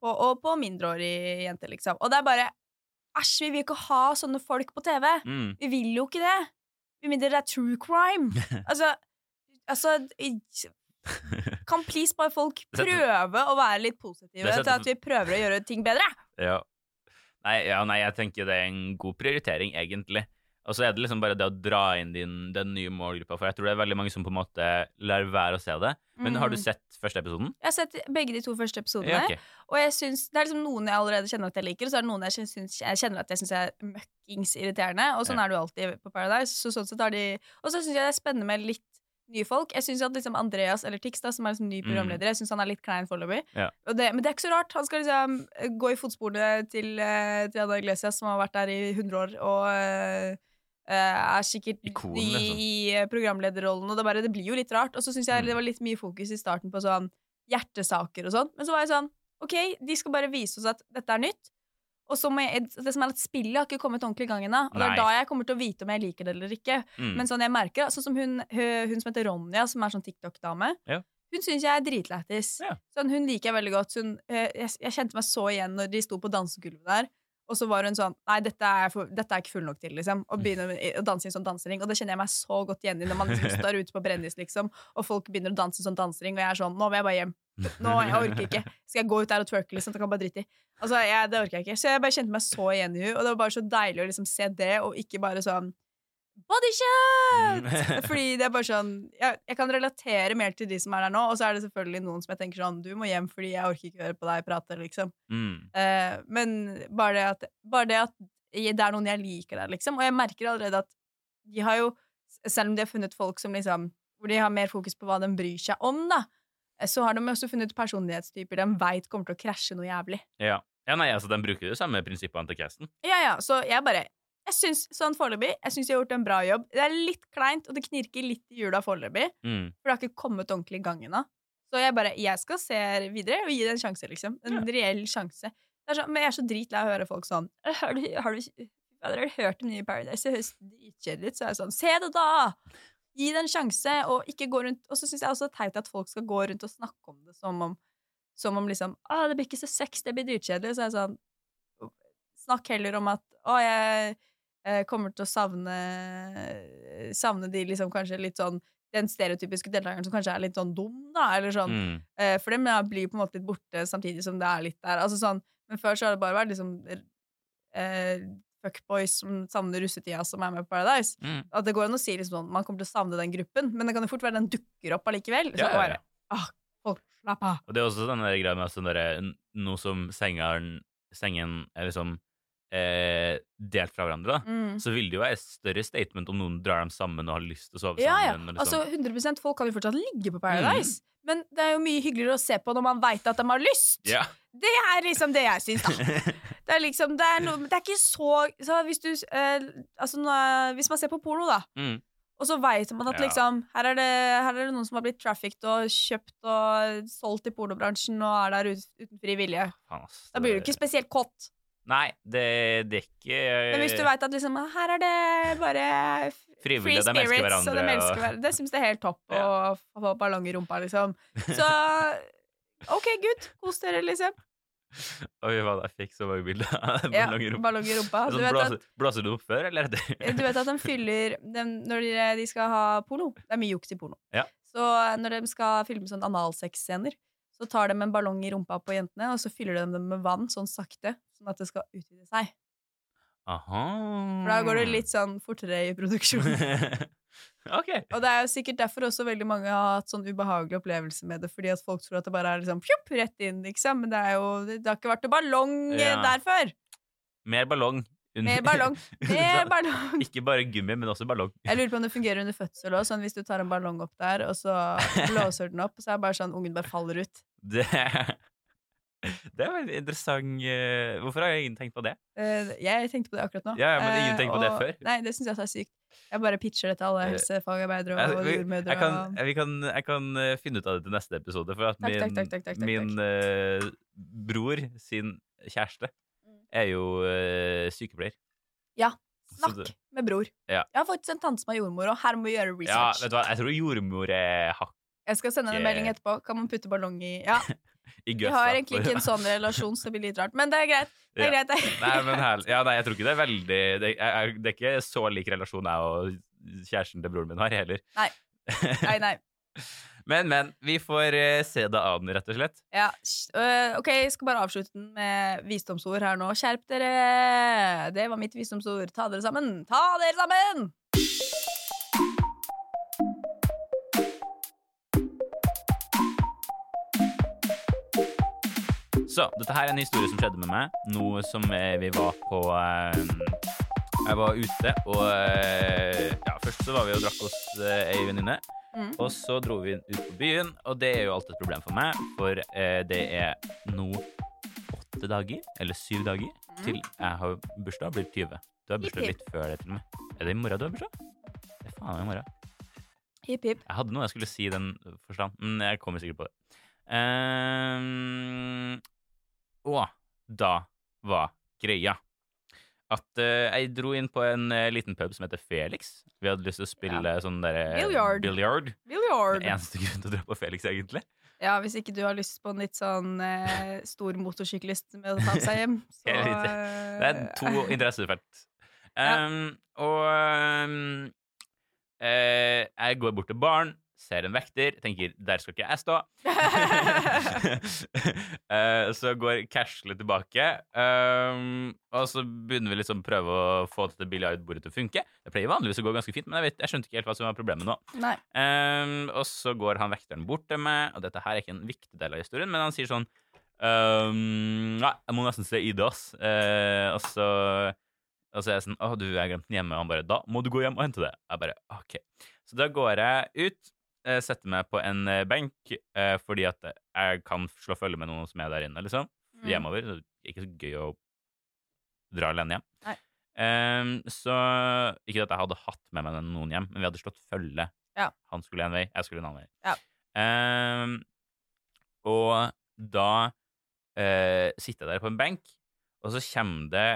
Speaker 2: På, og på mindreårige jenter, liksom. Og det er bare Æsj, vi vil ikke ha sånne folk på TV!
Speaker 1: Mm.
Speaker 2: Vi vil jo ikke det! Med mindre det er true crime. altså Altså i- Kan please bare folk
Speaker 1: Dette-
Speaker 2: prøve å være litt positive
Speaker 1: Dette-
Speaker 2: til at vi prøver å gjøre ting bedre?
Speaker 1: Ja. Nei, ja, nei, jeg tenker det er en god prioritering, egentlig. Og så er det liksom bare det å dra inn din, den nye målgruppa, for jeg tror det er veldig mange som på en måte lar være å se det. Men har du
Speaker 2: Mm.
Speaker 1: sett første episoden?
Speaker 2: Jeg har sett begge de to første episodene.
Speaker 1: Ja, ok.
Speaker 2: Og jeg synes, det er liksom noen jeg allerede kjenner at jeg liker, og så er det noen jeg, kjen- syns- jeg kjenner at jeg syns er møkkings irriterende. Og sånn
Speaker 1: Ja.
Speaker 2: er det jo alltid på Paradise. Så sånn sett har de Og så syns jeg det er spennende med litt nye folk. Jeg syns at liksom Andreas eller Tix, da, som er liksom ny programleder, jeg syns han er litt klein foreløpig.
Speaker 1: Mm. Ja.
Speaker 2: Og det- Men det er ikke så rart. Han skal liksom eh, gå i fotsporene til eh, Triana Iglesias, som har vært der i 100 år, og eh, eh, er sikkert
Speaker 1: Ikon,
Speaker 2: ny
Speaker 1: liksom.
Speaker 2: i eh, programlederrollen, og det, er bare, det blir jo litt rart. Og så syns jeg
Speaker 1: Mm.
Speaker 2: det var litt mye fokus i starten på sånn hjertesaker og sånn. Men så var jeg sånn OK, de skal bare vise oss at dette er nytt. Og så må jeg, det som er at Spillet har ikke kommet ordentlig i gang ennå. Og det
Speaker 1: Nei.
Speaker 2: er da jeg kommer til å vite om jeg liker det eller ikke.
Speaker 1: Mm.
Speaker 2: Men sånn jeg merker, sånn som hun, hun, hun som heter Ronja, som er sånn TikTok-dame,
Speaker 1: Ja.
Speaker 2: hun syns jeg er dritlættis.
Speaker 1: Ja.
Speaker 2: Sånn, hun liker jeg veldig godt. Hun, eh, jeg, jeg kjente meg så igjen når de sto på dansegulvet der. Og så var hun sånn Nei, dette er, jeg for, dette er jeg ikke full nok til, liksom.
Speaker 1: Mm.
Speaker 2: Og begynner med- å danse i en sånn dansering. Og det kjenner jeg meg så godt igjen i når man liksom står ute på Brennis, liksom, og folk begynner å danse i en sånn dansering, og jeg er sånn Nå vil jeg bare hjem. Nå, jeg orker ikke. Skal jeg gå ut der og twerke, liksom? Det kan jeg bare drite i. Altså, jeg, det orker jeg ikke. Så jeg bare kjente meg så igjen i henne, og det var bare så deilig å liksom se det, og ikke bare sånn Bodyshot! Fordi det er bare sånn jeg, jeg kan relatere mer til de som er der nå, og så er det selvfølgelig noen som jeg tenker sånn Du må hjem fordi jeg orker ikke høre på deg prate, liksom.
Speaker 1: Mm.
Speaker 2: Eh, men bare det at, bare det, at jeg, det er noen jeg liker der, liksom. Og jeg merker allerede at de har jo Selv om de har funnet folk som liksom Hvor de har mer fokus på hva de bryr seg om, da, eh, så har de også funnet personlighetstyper de veit kommer til å krasje noe jævlig.
Speaker 1: Ja. ja, nei, altså, de bruker de samme prinsippene til casten.
Speaker 2: Ja, ja, så jeg bare jeg synes, Sånn foreløpig, jeg syns de har gjort en bra jobb. Det er litt kleint, og det knirker litt i hjula foreløpig,
Speaker 1: Mm.
Speaker 2: for det har ikke kommet ordentlig i gang ennå. Så jeg bare Jeg skal se videre og gi det en sjanse, liksom. En
Speaker 1: Ja.
Speaker 2: reell sjanse. Det er så, men jeg er så dritlei av å høre folk sånn Har du, har du, har dere hørt om nye Paradise? Det høres dritkjedelig ut. Så er jeg sånn Se det, da! Gi det en sjanse, og ikke gå rundt Og så syns jeg også det er teit at folk skal gå rundt og snakke om det som om Som om liksom Å, det blir ikke så sex, det blir dritkjedelig. Så er det sånn Snakk heller om at Å, jeg eh, kommer til å savne Savne de liksom kanskje litt sånn Den stereotypiske deltakeren som kanskje er litt sånn dum, da, eller sånn
Speaker 1: Mm.
Speaker 2: Eh, For dem ja, blir jo på en måte litt borte samtidig som det er litt der. Altså sånn, men før så har det bare vært liksom eh, fuckboys som savner russetida, som er med på Paradise.
Speaker 1: Mm.
Speaker 2: At det går an å si liksom sånn, man kommer til å savne den gruppen, men det kan jo fort være den dukker opp allikevel. Så
Speaker 1: Ja, ja, ja.
Speaker 2: bare, ah, folk, slapp av.
Speaker 1: Og det er også den der greia med at sånn derre n- noe som sengeren, sengen er liksom eh, delt fra hverandre, da.
Speaker 2: Mm.
Speaker 1: Så vil det jo være et større statement om noen drar dem sammen og har lyst til å sove
Speaker 2: Ja, ja.
Speaker 1: sammen. eller
Speaker 2: Altså,
Speaker 1: sånn.
Speaker 2: 100 folk kan jo fortsatt ligge på
Speaker 1: Mm.
Speaker 2: Paradise, men det er jo mye hyggeligere å se på når man veit at de har lyst.
Speaker 1: ja.
Speaker 2: Det er liksom det jeg syns, da. Det er liksom, det er, noe- det er ikke så, så hvis, du, eh, altså, nå- hvis man ser på porno, da,
Speaker 1: mm.
Speaker 2: Og så veit man at
Speaker 1: Ja.
Speaker 2: liksom, her, er det, her er det noen som har blitt trafficked og kjøpt og solgt i pornobransjen og er der ut, uten fri vilje.
Speaker 1: Faen, ass.
Speaker 2: Da blir du ikke spesielt kåt.
Speaker 1: Nei, det, det er ikke
Speaker 2: Men hvis du
Speaker 1: eh,
Speaker 2: veit at liksom, her er det bare f-
Speaker 1: Frivillige, de elsker hverandre,
Speaker 2: og de
Speaker 1: og-
Speaker 2: elsker hverandre. Det syns jeg er helt topp å få ballong i rumpa, liksom. Så OK, good. Kos dere, liksom.
Speaker 1: Oi, faen, jeg fikk så mange bilder av
Speaker 2: Ja,
Speaker 1: ballonger opp.
Speaker 2: ballong i rumpa. Du
Speaker 1: Sånn,
Speaker 2: vet at
Speaker 1: blåser, blåser du opp før eller etter?
Speaker 2: Eh, Du vet at de fyller dem- Når de, de skal ha porno Det er mye juks i porno
Speaker 1: Ja.
Speaker 2: Så eh, når de skal filme sånn analsex-scener Så tar de en ballong i rumpa på jentene Og så fyller de dem med vann sånn sakte Sånn at det skal utvide seg
Speaker 1: Aha.
Speaker 2: For da
Speaker 1: Mm.
Speaker 2: går det litt sånn fortere i produksjonen
Speaker 1: ok.
Speaker 2: Og det er jo sikkert derfor også veldig mange har hatt sånn ubehagelig opplevelse med det Fordi at folk tror at det bare er liksom Fjupp, rett inn, liksom Men det, er jo, det har ikke vært en ballong eh,
Speaker 1: Ja.
Speaker 2: der før
Speaker 1: Mer ballong. Under-
Speaker 2: Mer ballong, mer
Speaker 1: Under-
Speaker 2: ballong
Speaker 1: Ikke bare gummi, men også ballong.
Speaker 2: Jeg lurer på om det fungerer under fødsel òg. Sånn hvis du tar en ballong opp der, og så blåser den opp, så er det bare sånn ungen bare faller ut.
Speaker 1: Det, det er veldig interessant eh, Hvorfor har jeg ingen tenkt på det?
Speaker 2: Eh, jeg tenkte på det akkurat nå.
Speaker 1: Ja, ja, men ingen
Speaker 2: Eh,
Speaker 1: tenkte på det
Speaker 2: og-
Speaker 1: før.
Speaker 2: Nei, det syns jeg også er sykt. Jeg bare pitcher det til alle
Speaker 1: Eh,
Speaker 2: helsefagarbeidere
Speaker 1: Jeg,
Speaker 2: og
Speaker 1: vi-
Speaker 2: jordmødre.
Speaker 1: jeg, kan,
Speaker 2: og-
Speaker 1: jeg, vi kan, jeg kan eh, finne ut av det til neste episode, for at
Speaker 2: Takk,
Speaker 1: min,
Speaker 2: takk, takk, takk, takk, takk,
Speaker 1: min eh, bror sin kjæreste
Speaker 2: Mm.
Speaker 1: er jo eh, sykepleier.
Speaker 2: Ja,
Speaker 1: Så
Speaker 2: Snakk
Speaker 1: det-
Speaker 2: med bror.
Speaker 1: Ja.
Speaker 2: Jeg har faktisk en tante som er jordmor, og her må vi gjøre
Speaker 1: Ja,
Speaker 2: research.
Speaker 1: vet du hva, jeg tror jordmor er hakk
Speaker 2: jeg skal sende henne en
Speaker 1: ikke-
Speaker 2: melding etterpå. Kan man putte ballong i Ja,
Speaker 1: i
Speaker 2: vi
Speaker 1: gøssa.
Speaker 2: har egentlig ikke en sånn relasjon, så det blir litt rart. Men det er greit. Det er
Speaker 1: Ja.
Speaker 2: greit. det.
Speaker 1: Nei, men her, ja, nei, jeg tror ikke det er veldig det er, det er ikke så lik relasjon jeg og kjæresten til broren min har, heller.
Speaker 2: Nei. nei, nei.
Speaker 1: men, men. Vi får eh, se det an, rett og slett.
Speaker 2: Ja, sj- øh, ok, jeg skal bare avslutte den med visdomsord her nå. Skjerp dere! Det var mitt visdomsord. Ta dere sammen! Ta dere sammen!
Speaker 1: Så, dette her er en historie som skjedde med meg Noe som eh, vi var på eh, Jeg var ute Og eh, ja, først så var vi og drakk oss eh, Ei venninne
Speaker 2: Mm.
Speaker 1: Og så dro vi ut på byen Og det er jo alltid et problem for meg For eh, det er nå Åtte dager, eller syv dager
Speaker 2: Mm.
Speaker 1: Til jeg har bursdag, blir 20 Du har bursdag
Speaker 2: Yippee.
Speaker 1: litt før det til og med Er det i morgen du har bursdag? Det er faen meg i morgen
Speaker 2: Hipp, hipp.
Speaker 1: jeg hadde noe jeg skulle si i den forstand, men jeg kommer sikkert på det. Ehm, og da var greia at eh, jeg dro inn på en eh, liten pub som heter Felix. Vi hadde lyst til å spille sånn derre
Speaker 2: Billiard.
Speaker 1: billiard.
Speaker 2: Billiard.
Speaker 1: Den eneste grunnen til å dra på Felix, egentlig.
Speaker 2: Ja, hvis ikke du har lyst på en litt sånn eh, stor motorsyklist med å ta med seg hjem, så
Speaker 1: Jeg vet
Speaker 2: eh,
Speaker 1: Det er to interessefelt. Ehm, Og ehm, eh, jeg går bort til baren, ser en vekter, tenker 'der skal ikke jeg stå'. Eh, så går Cashly tilbake, ehm, og så begynner vi liksom prøve å få dette billiardbordet til å funke. Det pleier vanligvis å gå ganske fint, men jeg, vet, jeg skjønte ikke helt hva som var problemet nå.
Speaker 2: Nei.
Speaker 1: Ehm, og så går han vekteren bort til meg, og dette her er ikke en viktig del av historien, men han sier sånn ehm, Nei, jeg må nesten se ID, ass. Eh, og så og så er jeg sånn Å, du, jeg glemte den hjemme. Og han bare Da må du gå hjem og hente det. Jeg bare OK. Så da går jeg ut, eh, setter meg på en eh, benk, eh, fordi at jeg kan slå følge med noen som er der inne, liksom.
Speaker 2: Mm.
Speaker 1: Hjemover. så Det er ikke så gøy å dra alene hjem.
Speaker 2: Nei.
Speaker 1: Ehm, så Ikke at jeg hadde hatt med meg noen hjem, men vi hadde slått følge.
Speaker 2: Ja.
Speaker 1: Han skulle en vei, jeg skulle en annen vei.
Speaker 2: Ja.
Speaker 1: Ehm, og da eh, sitter jeg der på en benk, og så kommer det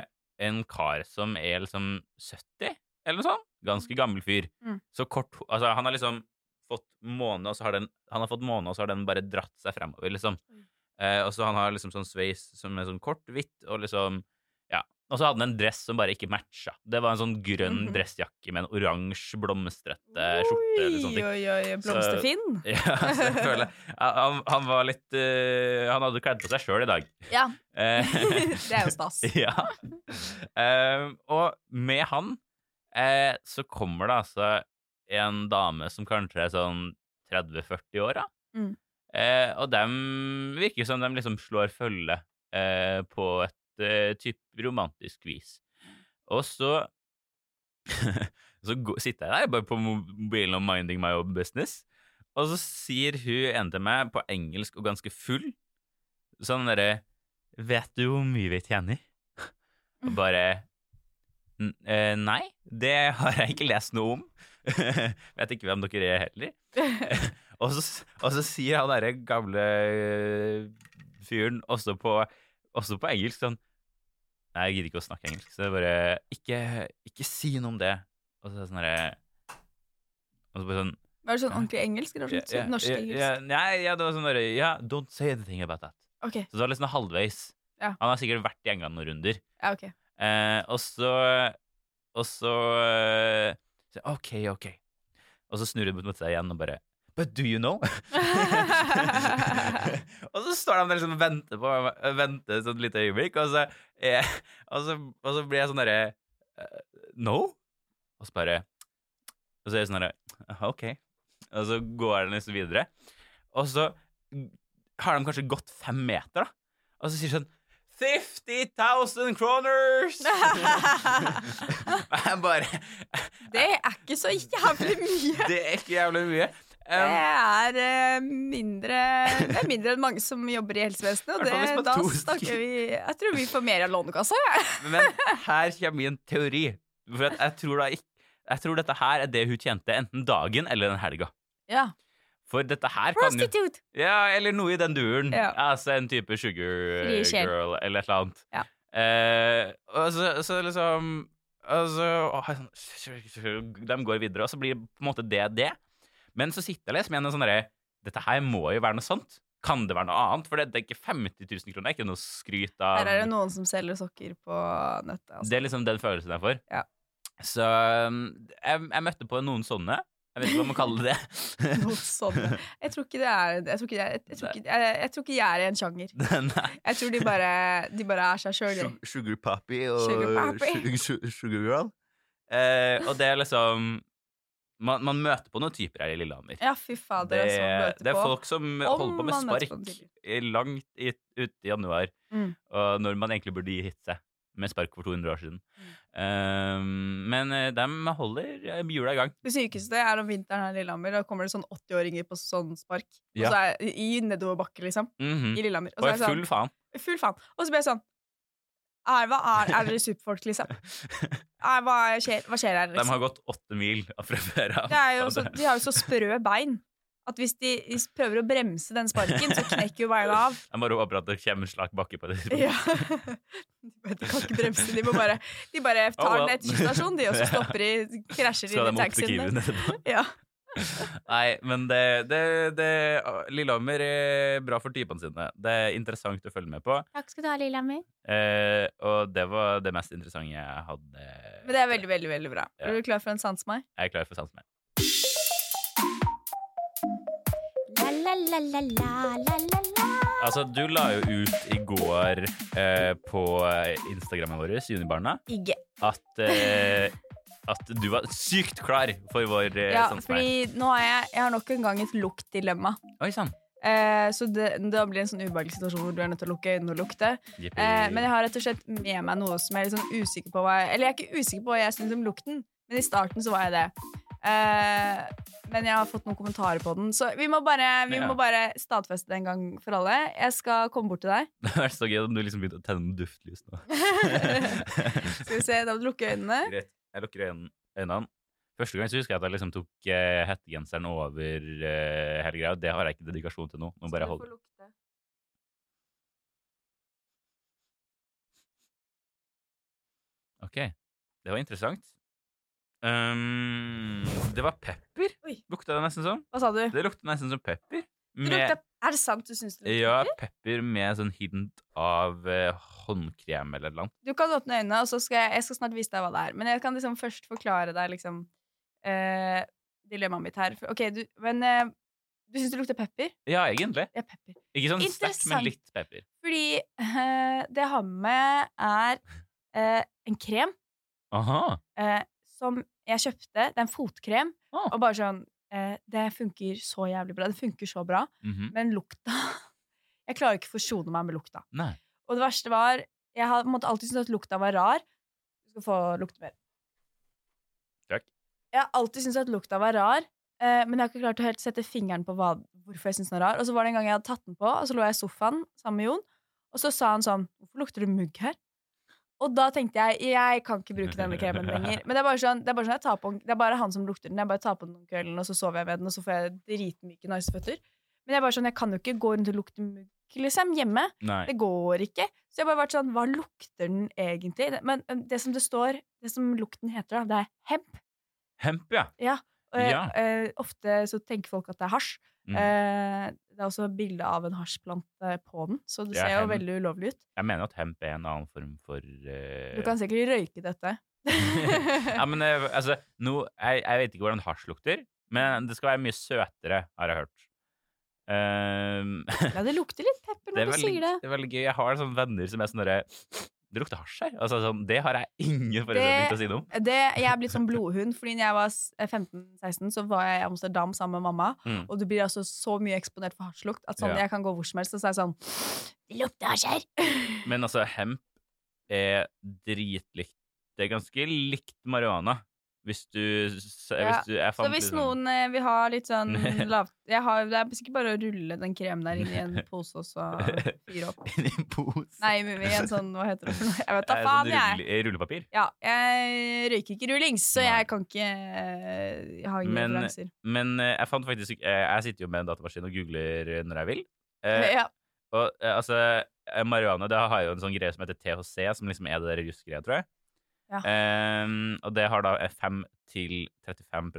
Speaker 1: en kar som er liksom 70, eller noe sånt. ganske gammel fyr.
Speaker 2: Mm.
Speaker 1: Så kort ho- Altså, han har liksom fått måne, og så har den Han har fått måne, og så har den bare dratt seg fremover, liksom. Eh, og så han har liksom sånn sveis som er sånn kort, hvitt, og liksom Ja. Og så hadde han en dress som bare ikke matcha. Det var en sånn grønn
Speaker 2: Mhm.
Speaker 1: dressjakke med en oransje, blomstrete skjorte eller sånne ting.
Speaker 2: Oi, oi, oi, blomsterfinn.
Speaker 1: Ja, så jeg føler han, han var litt eh, Han hadde kledd på seg sjøl i dag.
Speaker 2: Ja.
Speaker 1: Eh,
Speaker 2: det er jo stas.
Speaker 1: ja. Ehm, og med han eh, så kommer det altså en dame som kanskje er sånn 30-40 år, da.
Speaker 2: Mm.
Speaker 1: Eh, og dem virker som de liksom slår følge eh, på et eh, type romantisk vis. Og så Så gå- sitter jeg der bare på mo- mobilen og minding my own business, og så sier hun en til meg på engelsk og ganske full sånn derre Vet du hvor mye vi tjener? Og bare "N- eh, Nei, det har jeg ikke lest noe om. Vet ikke hvem dere er heller. Og så, og så sier han derre gamle øh, fyren også på, også på engelsk sånn Nei, jeg gidder ikke å snakke engelsk, så det er bare Ikke, ikke si noe om det. Og så er det sånn derre Og så bare sånn
Speaker 2: Var det sånn ordentlig engelsk? Eller var det
Speaker 1: ja,
Speaker 2: sånn norsk
Speaker 1: ja, ja,
Speaker 2: engelsk?
Speaker 1: Nei, ja, det var sånn derre Ja, don't say anything about that.
Speaker 2: Ok,
Speaker 1: Så det var liksom halvveis.
Speaker 2: Ja.
Speaker 1: Han har sikkert vært i England noen runder.
Speaker 2: ja, ok.
Speaker 1: Eh, og så Og så eh, så, OK, OK. Og så snur hun mot seg igjen og bare But do you know? og så står de der liksom og venter på Venter et sånt lite øyeblikk, og så, eh, og så, og så blir jeg sånn derre eh, No? Og så bare Og så er jeg sånn derre OK. Og så går den liksom videre. Og så har de kanskje gått fem meter, da. Og så sier de sånn 50.000 kroners! Og jeg bare
Speaker 2: Det er ikke så jævlig mye.
Speaker 1: Det er ikke jævlig mye.
Speaker 2: Det
Speaker 1: Um,
Speaker 2: er eh, mindre Det er mindre enn mange som jobber i helsevesenet. Og
Speaker 1: Hvertfall hvis
Speaker 2: det,
Speaker 1: man
Speaker 2: da
Speaker 1: to
Speaker 2: snakker
Speaker 1: stykker.
Speaker 2: vi Jeg tror vi får mer av Lånekassa, jeg.
Speaker 1: men her kommer min teori. For at jeg, tror da ikk- jeg tror dette her er det hun tjente enten dagen eller den helga.
Speaker 2: Ja.
Speaker 1: For dette her kan jo
Speaker 3: Prostitute!
Speaker 1: Ja, eller noe i den duren.
Speaker 2: Ja.
Speaker 1: Altså en type sugar eh,
Speaker 2: Fri sjel.
Speaker 1: girl eller et eller annet.
Speaker 2: Ja.
Speaker 1: Eh, og så, så liksom og så- åh, sånn, De går videre, og så blir på en måte det det. Men så sitter jeg liksom igjen og sånn derre Dette her må jo være noe sånt. Kan det være noe annet? For det, det er ikke 50 000 kroner. Det er ikke noe skryt av
Speaker 2: Her er det noen som selger sokker på nettet. Altså.
Speaker 1: det er liksom den følelsen jeg får.
Speaker 2: Ja.
Speaker 1: Så um, jeg, jeg møtte på noen sånne. Jeg vet ikke hva man kaller det.
Speaker 2: Noe sånt. Jeg tror ikke det er Jeg tror ikke, det er, jeg, tror ikke, jeg, jeg tror ikke jeg er i en sjanger.
Speaker 1: Nei.
Speaker 2: Jeg tror de bare, de bare er seg sjøl.
Speaker 1: Sug- Sugar Poppy og
Speaker 2: Sugar Poppy.
Speaker 1: Su- su- Sugar Girl. Eh, og det er liksom man, man møter på noen typer her i Lillehammer.
Speaker 2: Ja, fy fader.
Speaker 1: det,
Speaker 2: altså,
Speaker 1: er-
Speaker 2: møte
Speaker 1: det er
Speaker 2: på.
Speaker 1: folk som holder på med
Speaker 2: man møter på
Speaker 1: spark
Speaker 2: en tidlig.
Speaker 1: i- langt i, ut i januar,
Speaker 2: Mm.
Speaker 1: og når man egentlig burde gitt seg med spark for 200 år siden.
Speaker 2: Mm.
Speaker 1: Eh, men eh, dem holder eh, jula i gang.
Speaker 2: Det sykeste er om vinteren her i Lillehammer, da kommer det sånn 80-åringer på sånn spark.
Speaker 1: Ja.
Speaker 2: Og så er I i nedoverbakke, liksom.
Speaker 1: Mhm.
Speaker 2: I Lillehammer. Og
Speaker 1: Og
Speaker 2: så
Speaker 1: er
Speaker 2: er jeg
Speaker 1: full
Speaker 2: sånn,
Speaker 1: faen.
Speaker 2: full faen. Og så blir jeg sånn er, hva er, er dere superfolk, liksom? Er, hva, skjer, hva skjer her?
Speaker 1: De
Speaker 2: Liksom?
Speaker 1: har gått åtte mil fra før av.
Speaker 2: Det er jo
Speaker 1: Og
Speaker 2: så,
Speaker 1: det-
Speaker 2: de har jo så sprø bein at hvis de, de prøver å bremse den sparken, så knekker jo beina av.
Speaker 1: Jeg bare håper at det kommer en slak bakke på det. tidspunktet.
Speaker 2: Ja. De kan ikke bremse. De, må bare, de bare tar
Speaker 1: Oh, well.
Speaker 2: ned tusstasjon, de, og så stopper de, krasjer
Speaker 1: Skal
Speaker 2: inn i
Speaker 1: de opp til
Speaker 2: taxiene.
Speaker 1: Kiwien etterpå?
Speaker 2: Ja.
Speaker 1: Nei, men det, det, det Lillehammer er bra for typene sine. Det er interessant å følge med på.
Speaker 3: Takk skal du ha, Lillehammer.
Speaker 1: Eh, og det var det mest interessante jeg hadde.
Speaker 2: Men det er veldig, veldig veldig bra.
Speaker 1: Ja.
Speaker 2: Er du klar for en sans meg?
Speaker 1: Jeg er klar for sans med.
Speaker 3: La-la-la-la-la-la-la.
Speaker 1: Altså, du la jo ut i går eh, på Instagrammen vår, Junibarna,
Speaker 2: Ikke.
Speaker 1: at, eh, at du var sykt klar for vår eh,
Speaker 2: Ja,
Speaker 1: sans med.
Speaker 2: fordi nå har jeg, jeg har nok en gang et luktdilemma.
Speaker 1: Oi sann.
Speaker 2: Eh, så det, da blir det en sånn ubehagelig situasjon hvor du er nødt til å lukke øynene og lukte.
Speaker 1: Jippi.
Speaker 2: Eh, men jeg har rett og slett med meg noe som jeg er litt sånn usikker på hva jeg, Eller jeg er ikke usikker på hva jeg syns om lukten, men i starten så var jeg det. Eh, men jeg har fått noen kommentarer på den, så vi må bare, vi
Speaker 1: Ja.
Speaker 2: må bare stadfeste det en gang for alle. Jeg skal komme bort til deg.
Speaker 1: Det hadde vært så gøy om du liksom begynte å tenne noen duftlys nå.
Speaker 2: Skal vi se, Da må du lukke øynene.
Speaker 1: Greit. Jeg lukker øyn- øynene. Første gang så husker jeg at jeg liksom tok eh, hettegenseren over eh, hele greia. Det har jeg ikke dedikasjon til nå. Nå bare hold. Ok, det var interessant. Ehm, det var pepper.
Speaker 2: Oi.
Speaker 1: Lukta det nesten som.
Speaker 2: Hva sa du?
Speaker 1: Det lukta nesten som pepper.
Speaker 2: Du lukta, er det sant du syns det lukter?
Speaker 1: ja, pepper med sånn hint av eh, håndkrem eller noe.
Speaker 2: Du kan åpne øynene, og så skal jeg, jeg skal snart vise deg hva det er. Men jeg kan liksom først forklare deg liksom eh, dilemmaet mitt her. Ok, du, men eh, du syns det lukter pepper?
Speaker 1: Ja, egentlig.
Speaker 2: Ja, pepper.
Speaker 1: Ikke sånn sterkt,
Speaker 2: Interessant.
Speaker 1: men litt pepper.
Speaker 2: Fordi eh, det jeg har med, er eh, en krem
Speaker 1: Aha.
Speaker 2: eh, som jeg kjøpte. Det er en fotkrem.
Speaker 1: Ah.
Speaker 2: Og bare sånn eh, Det funker så jævlig bra. Det funker så bra.
Speaker 1: Mhm.
Speaker 2: Men lukta Jeg klarer ikke å forsone meg med lukta.
Speaker 1: Nei.
Speaker 2: Og det verste var Jeg har på en måte alltid syntes at lukta var rar. Du skal få lukte mer.
Speaker 1: Takk.
Speaker 2: Jeg har alltid syntes at lukta var rar, eh, men jeg har ikke klart å helt sette fingeren på hva, hvorfor jeg syns den er rar. Og så var det en gang jeg hadde tatt den på, og så lå jeg i sofaen sammen med Jon, og så sa han sånn Hvorfor lukter det mugg her? Og da tenkte jeg jeg kan ikke bruke denne kremen lenger. Men det er bare sånn, det er bare, sånn jeg tar på, den- det er bare han som lukter den. Jeg bare tar på den om kvelden, og så sover jeg med den, og så får jeg dritmyke niceføtter. Men jeg er bare sånn, jeg kan jo ikke gå rundt og lukte mugg liksom, hjemme.
Speaker 1: Nei.
Speaker 2: Det går ikke. Så jeg har bare vært sånn, hva lukter den egentlig? Men eh, det som det står, det som lukten heter da, det er hemp.
Speaker 1: Hemp, ja.
Speaker 2: Og jeg-
Speaker 1: Ja.
Speaker 2: eh, ofte så tenker folk at det er hasj.
Speaker 1: Mm.
Speaker 2: Eh, det er også bilde av en hasjplante på den, så det
Speaker 1: Det er
Speaker 2: ser jo
Speaker 1: hemp.
Speaker 2: veldig ulovlig ut.
Speaker 1: Jeg mener at hemp er en annen form for eh,
Speaker 2: Du kan sikkert røyke dette.
Speaker 1: ja, men eh, altså, nå- jeg, jeg vet ikke hvordan hasj lukter, men det skal være mye søtere, har jeg hørt. Ehm,
Speaker 2: ja, det lukter litt pepper
Speaker 1: det, er
Speaker 2: når du
Speaker 1: veldig,
Speaker 2: sier det.
Speaker 1: det er veldig gøy. Jeg har sånne venner som er sånn derre Det lukter hasj her. Altså, sånn, det har jeg ingen forutsetning til å si noe om.
Speaker 2: det, jeg er blitt sånn blodhund, fordi når jeg var s- 15-16, så var jeg i Amsterdam sammen med mamma.
Speaker 1: Mm.
Speaker 2: Og du blir altså så mye eksponert for hasjlukt at sånn,
Speaker 1: Ja.
Speaker 2: jeg kan gå hvor som helst og så er jeg sånn Det lukter hasj her!
Speaker 1: Men altså, hemp er dritlikt. Det er ganske likt marihuana. Hvis du, s-
Speaker 2: Ja,
Speaker 1: hvis du jeg
Speaker 2: Så
Speaker 1: fant
Speaker 2: hvis
Speaker 1: liksom-
Speaker 2: noen eh, vil ha litt sånn lav... Jeg har, det er sikkert bare å rulle den kremen der inn i en pose og så fyre opp.
Speaker 1: Inn i en pose
Speaker 2: Nei, men i en sånn Hva heter det for noe? Jeg vet da
Speaker 1: Eh,
Speaker 2: faen,
Speaker 1: sånn
Speaker 2: jeg.
Speaker 1: rulle- Rullepapir.
Speaker 2: Ja, jeg røyker ikke rullings, så
Speaker 1: Nei.
Speaker 2: jeg kan ikke eh, ha ingen
Speaker 1: Men-
Speaker 2: referanser.
Speaker 1: Men eh, jeg fant faktisk ikke eh, Jeg sitter jo med en datamaskin og googler eh, når jeg vil. Eh,
Speaker 2: Ja.
Speaker 1: Og eh, altså, eh, marihuana det har jo en sånn greie som heter THC, som liksom er det der rusgreia, tror jeg.
Speaker 2: Ja.
Speaker 1: Ehm, og det har da 5-35 eh,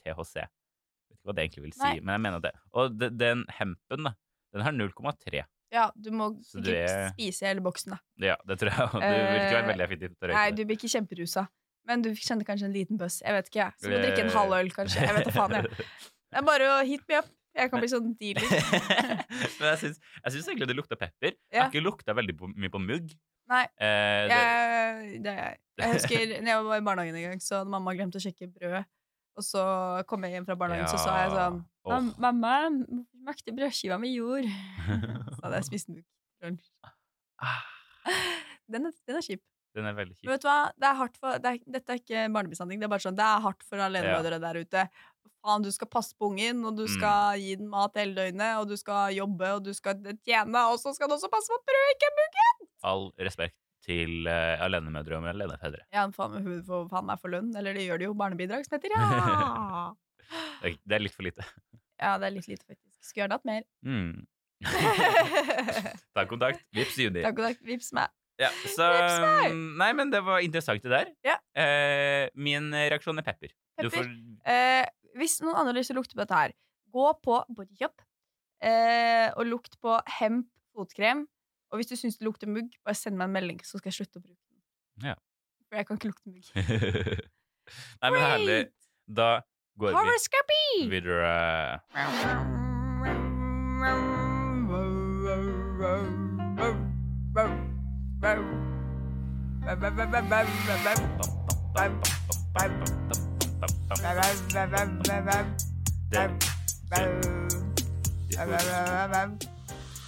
Speaker 1: THC. Jeg vet ikke hva det egentlig vil si,
Speaker 2: Nei.
Speaker 1: men jeg mener det. Og de, den hempen, da, den har 0,3.
Speaker 2: ja, du må
Speaker 1: Så
Speaker 2: sikkert
Speaker 1: det-
Speaker 2: spise hele boksen, da.
Speaker 1: Ja, det tror jeg. og Du vil ikke være
Speaker 2: Eh,
Speaker 1: veldig effektiv til å
Speaker 2: Nei,
Speaker 1: røyke
Speaker 2: du
Speaker 1: det.
Speaker 2: blir ikke kjemperusa. Men du kjenner kanskje en liten bøss. Jeg vet ikke, jeg. Så du må
Speaker 1: Eh.
Speaker 2: drikke en halv øl, kanskje. Jeg vet da faen, jeg. Det er bare å hit me up. Jeg kan bli sånn dealer.
Speaker 1: Men jeg syns, jeg syns egentlig det lukta pepper. Jeg
Speaker 2: Ja.
Speaker 1: har ikke lukta veldig på, mye på mugg.
Speaker 2: Nei.
Speaker 1: Eh, det,
Speaker 2: Jeg, det er jeg. Jeg husker når jeg var i barnehagen en gang, så hadde mamma glemt å sjekke brødet. Og så kom jeg hjem fra barnehagen, så sa jeg
Speaker 1: Ja.
Speaker 2: sånn
Speaker 1: Åh.
Speaker 2: «Mam- Mamma, makte brødskiva med jord. Så hadde jeg spist den til lunsj.
Speaker 1: Ah,
Speaker 2: Den er, den er kjip.
Speaker 1: Den er veldig kjip.
Speaker 2: Men vet du hva? Det er hardt for, det er, dette er ikke barnemishandling. Det er bare sånn, det er hardt for alenemødre der ute. Faen, du skal passe på ungen,
Speaker 1: Mm.
Speaker 2: og du skal gi den mat hele døgnet, og du skal jobbe, og du skal tjene, og så skal du også passe på at brød, ikke mugg!
Speaker 1: all respekt til eh, alenemødre og alenefedre.
Speaker 2: Ja, faen, hun får faen meg for lønn. Eller det gjør det jo, barnebidrag som heter. Ja!
Speaker 1: Det er- Det er litt for lite.
Speaker 2: ja, det er litt lite, faktisk. Skulle gjerne hatt mer.
Speaker 1: Mm.
Speaker 2: takk,
Speaker 1: Ta kontakt. Vips, Juni.
Speaker 2: og takk. Vips meg.
Speaker 1: Ja, så, mm,
Speaker 2: Vips meg!
Speaker 1: nei, men det var interessant, det der.
Speaker 2: Ja.
Speaker 1: Eh, min reaksjon er pepper. Du
Speaker 2: Pepper.
Speaker 1: får
Speaker 2: Eh, hvis noen andre har lyst til å lukte på dette her, gå på Bodyshop eh, og lukt på hemp fotkrem. Og hvis du syns det lukter mugg, bare send meg en melding, så skal jeg slutte å bruke den.
Speaker 1: Ja.
Speaker 2: For jeg kan ikke lukte mugg.
Speaker 1: Nei, men herlig. Da går
Speaker 2: Horoscopy!
Speaker 1: vi videre. Det- det-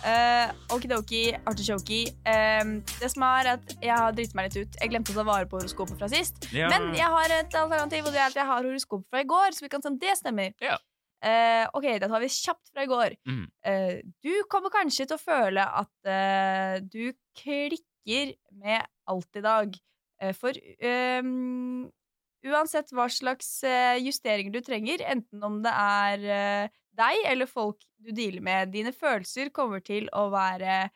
Speaker 2: Eh, Okidoki, artichoki. Ehm, det som er at jeg har driti meg litt ut. Jeg glemte å ta vare på horoskopet fra sist.
Speaker 1: Ja.
Speaker 2: Men jeg har et alternativ, og det er at jeg har horoskopet fra i går. Så vi kan si at det stemmer.
Speaker 1: Ja.
Speaker 2: Eh, ok, da tar vi kjapt fra i går.
Speaker 1: Mm.
Speaker 2: Eh, du kommer kanskje til å føle at eh, du klikker med alt i dag. Eh, for ehm, uansett hva slags eh, justeringer du trenger, enten om det er eh, deg eller folk du dealer med. Dine følelser kommer til å være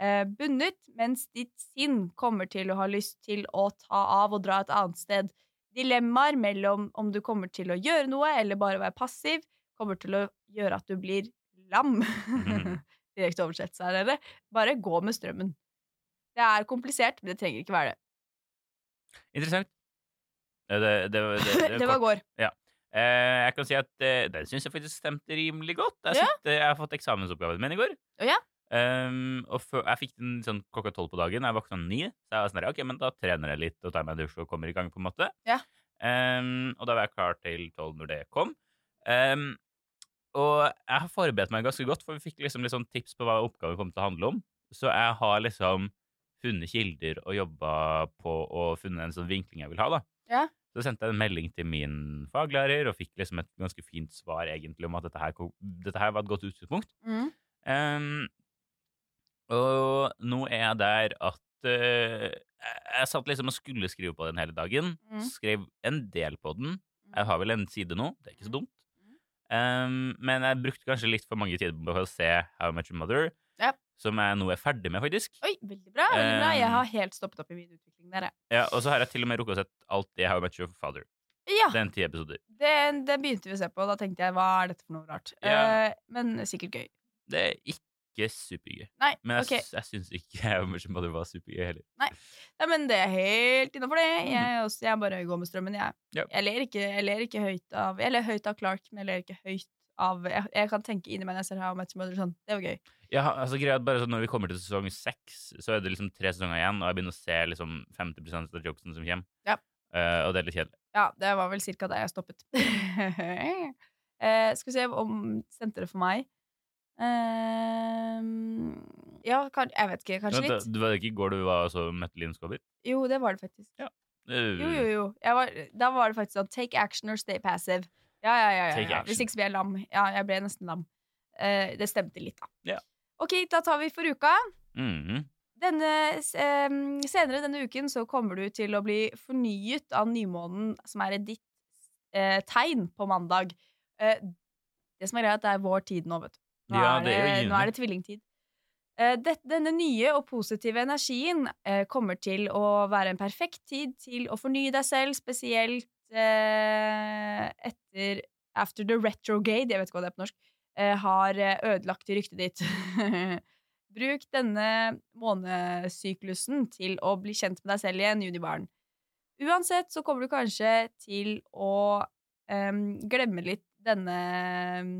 Speaker 2: eh, bundet, mens ditt sinn kommer til å ha lyst til å ta av og dra et annet sted. dilemmaer mellom om du kommer til å gjøre noe eller bare være passiv, kommer til å gjøre at du blir lam.
Speaker 1: Mhm.
Speaker 2: Direkte oversettelse her, dere. Bare gå med strømmen. Det er komplisert, men det trenger ikke være det.
Speaker 1: Interessant. Eh, Det, det, det, det,
Speaker 2: Det var
Speaker 1: kort.
Speaker 2: går.
Speaker 1: Eh, jeg kan si at eh, den syns jeg faktisk stemte rimelig godt. Jeg,
Speaker 2: Ja.
Speaker 1: sitter, jeg har fått eksamensoppgaven min i går.
Speaker 2: Å ja?
Speaker 1: Ehm, og før, jeg fikk den sånn klokka tolv på dagen. Jeg våkna ni. Så jeg var sånn her, ok, men da trener jeg litt og tar meg en dusj og kommer i gang. på en måte
Speaker 2: Ja.
Speaker 1: Ehm, Og da var jeg klar til tolv når det kom. Ehm, og jeg har forberedt meg ganske godt, for vi fikk liksom litt sånn tips på hva oppgaven kom til å handle om. Så jeg har liksom funnet kilder og jobba på og funnet en sånn vinkling jeg vil ha, da.
Speaker 2: Ja.
Speaker 1: Så sendte jeg en melding til min faglærer og fikk liksom et ganske fint svar egentlig om at dette her, ko- dette her var et godt utgangspunkt.
Speaker 2: Mm.
Speaker 1: Ehm, og nå er jeg der at eh, jeg, jeg satt liksom og skulle skrive på den hele dagen.
Speaker 2: Mm.
Speaker 1: Skrev en del på den. Jeg har vel en side nå, det er
Speaker 2: Mm.
Speaker 1: ikke så dumt. Ehm, men jeg brukte kanskje litt for mange tider på å se How Much Mother,
Speaker 2: Ja.
Speaker 1: som jeg nå er ferdig med, faktisk.
Speaker 2: Oi, veldig bra. veldig bra. Jeg
Speaker 1: Um,
Speaker 2: har helt stoppet opp i min utvikling der, jeg.
Speaker 1: Ja, og så har jeg til og med rukket å sett alt i How Much Your Father.
Speaker 2: Ja,
Speaker 1: Det er en ti episoder.
Speaker 2: den, den begynte vi å se på, og da tenkte jeg hva er dette for noe rart?
Speaker 1: Ja.
Speaker 2: Eh, men sikkert gøy.
Speaker 1: Det er ikke supergøy.
Speaker 2: Nei,
Speaker 1: Men jeg,
Speaker 2: ok.
Speaker 1: okay. jeg syns ikke How Much Your Mother var supergøy heller.
Speaker 2: Nei, men det er helt innafor, det. Jeg, også, jeg bare går med strømmen, jeg.
Speaker 1: Mhm. Ja.
Speaker 2: Jeg, ler ikke, jeg ler ikke høyt av Jeg ler høyt av Clark, men jeg ler ikke høyt av Jeg, jeg kan tenke inni meg når jeg ser How I Met Your Mother sånn. Det var gøy.
Speaker 1: Ja, altså greia er at bare sånn Når vi kommer til sesong seks, så er det liksom tre sesonger igjen, og jeg begynner å se liksom 50 av jokesen som kommer.
Speaker 2: Ja.
Speaker 1: Eh, og det er litt kjedelig.
Speaker 2: Ja, det var vel cirka der jeg stoppet. eh, skal vi se om Sendte det for meg. Eh, ja, kan, jeg vet ikke. Kanskje
Speaker 1: Vent,
Speaker 2: litt.
Speaker 1: du var det ikke i går du var så møtte Linn Skåber?
Speaker 2: Jo, det var det faktisk.
Speaker 1: Eh,
Speaker 2: Jo, jo, jo. Jeg var, da var det faktisk sånn take action or stay passive. Ja, ja, ja.
Speaker 1: Take
Speaker 2: ja, ja.
Speaker 1: action.
Speaker 2: Hvis ikke så blir jeg lam. Ja, jeg ble nesten lam. Eh, det stemte litt, da.
Speaker 1: Ja.
Speaker 2: Ok, da tar vi for uka.
Speaker 1: mhm.
Speaker 2: Denne, s- em, senere denne uken så kommer du til å bli fornyet av nymånen, som er ditt eh, tegn på mandag. Eh, det som er greia, er at det er vår tid nå, vet du. Nå,
Speaker 1: Ja,
Speaker 2: er,
Speaker 1: det er jo
Speaker 2: det-
Speaker 1: juni.
Speaker 2: nå er det tvillingtid. Eh, det, denne nye og positive energien eh, kommer til å være en perfekt tid til å fornye deg selv, spesielt eh, etter After the retrograde, jeg vet ikke hva det er på norsk, eh, har eh, ødelagt ryktet ditt. Bruk denne månesyklusen til å bli kjent med deg selv igjen, Junibaren. Uansett så kommer du kanskje til å em, Ehm, glemme litt denne em,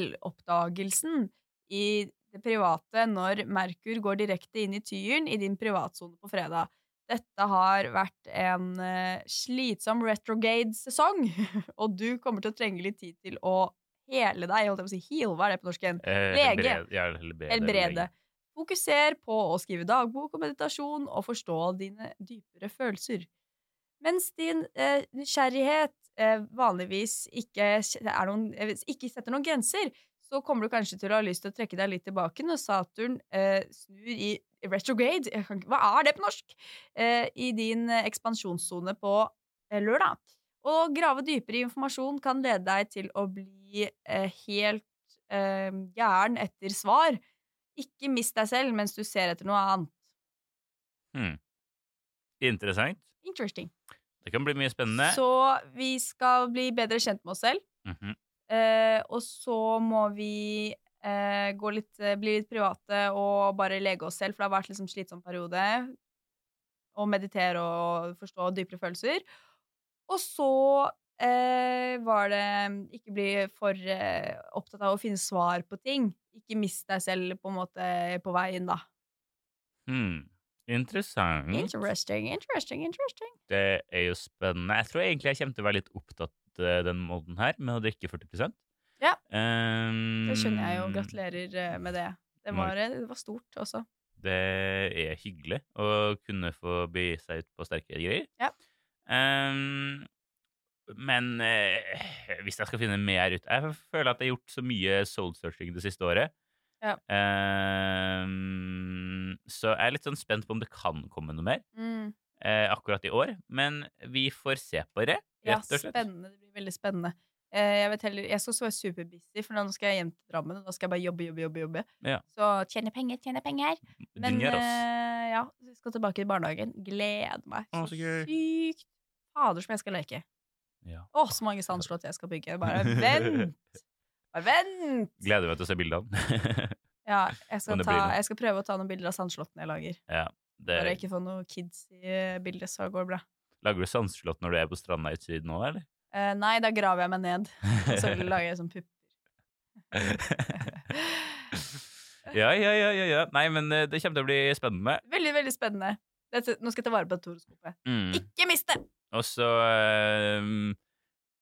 Speaker 2: selvoppdagelsen i det private når Merkur går direkte inn i tyren i din privatsone på fredag. Dette har vært en eh, slitsom retrograde-sesong, og du kommer til å trenge litt tid til å hele deg. Jeg holdt på å si heal, hva er det på norsk igjen?
Speaker 1: Eh,
Speaker 2: Lege.
Speaker 1: helbrede- Ja, helbrede.
Speaker 2: Helbrede.
Speaker 1: lege.
Speaker 2: Fokuser på å skrive dagbok og meditasjon og forstå dine dypere følelser. Mens din eh, nysgjerrighet eh, vanligvis ikke, kj- er noen, eh, ikke setter noen grenser, så kommer du kanskje til å ha lyst til å trekke deg litt tilbake når Saturn eh, snur i retrograde jeg kan, ikke- Hva er det på norsk? Eh, I din eh, ekspansjonssone på eh, lørdag. Å grave dypere i informasjon kan lede deg til å bli eh, helt eh, gæren etter svar. Ikke mist deg selv mens du ser etter noe annet.
Speaker 1: Interessant.
Speaker 2: Interesting.
Speaker 1: Det kan bli mye spennende.
Speaker 2: Så vi skal bli bedre kjent med oss selv,
Speaker 1: Mhm.
Speaker 2: eh, og så må vi eh, gå litt, eh, bli litt private og bare lege oss selv, for det har vært liksom slitsom periode, og meditere og forstå dypere følelser. Og så eh, var det ikke bli for eh, opptatt av å finne svar på ting. Ikke mist deg selv på en måte på veien, da.
Speaker 1: Hmm. Interessant.
Speaker 2: Interesting, interesting, interesting.
Speaker 1: Det er jo spennende. Jeg tror egentlig jeg kommer til å være litt opptatt eh, den måneden her med å drikke 40
Speaker 2: Ja.
Speaker 1: Ehm,
Speaker 2: Det skjønner jeg jo. Gratulerer eh, med det. Det var, eh, det var stort også.
Speaker 1: Det er hyggelig å kunne få begi seg ut på sterkere greier.
Speaker 2: Ja.
Speaker 1: Ehm, men eh, hvis jeg skal finne mer ut Jeg føler at jeg har gjort så mye soul-searching det siste året.
Speaker 2: Ja.
Speaker 1: Ehm, så jeg er litt sånn spent på om det kan komme noe mer eh, akkurat i år. Men vi får se på det,
Speaker 2: Ja,
Speaker 1: rett og slett.
Speaker 2: spennende. Det blir veldig spennende. Eh, Jeg, vet heller, jeg skal også være superbusy, for nå skal jeg hjem til Drammen. Og da skal jeg bare jobbe, jobbe, jobbe. jobbe.
Speaker 1: Ja.
Speaker 2: Så tjene penger, tjene penger. Men
Speaker 1: Dinner, ass.
Speaker 2: eh, ja, jeg skal tilbake i barnehagen. Gleder meg
Speaker 1: Å, så gøy.
Speaker 2: sykt. Fader, som jeg skal leke.
Speaker 1: Ja.
Speaker 2: Å, så mange sandslott jeg skal bygge. Bare vent! Bare vent!
Speaker 1: Gleder meg til å se bildene.
Speaker 2: Ja, jeg skal,
Speaker 1: Men det
Speaker 2: ta,
Speaker 1: blir det.
Speaker 2: jeg skal prøve å ta noen bilder av sandslottene jeg lager.
Speaker 1: det,
Speaker 2: Bare ikke få noen kids i eh, bildet, så går det bra.
Speaker 1: lager du sandslott når du er på stranda i syd nå, eller?
Speaker 2: Eh, nei, da graver jeg meg ned, og så lager jeg sånn pupp.
Speaker 1: ja, ja, ja, ja, ja. Nei, men eh, det kommer til å bli spennende.
Speaker 2: Veldig, veldig spennende. Dette, nå skal jeg ta vare på dette horoskopet.
Speaker 1: Mm.
Speaker 2: Ikke miste!
Speaker 1: Og så eh,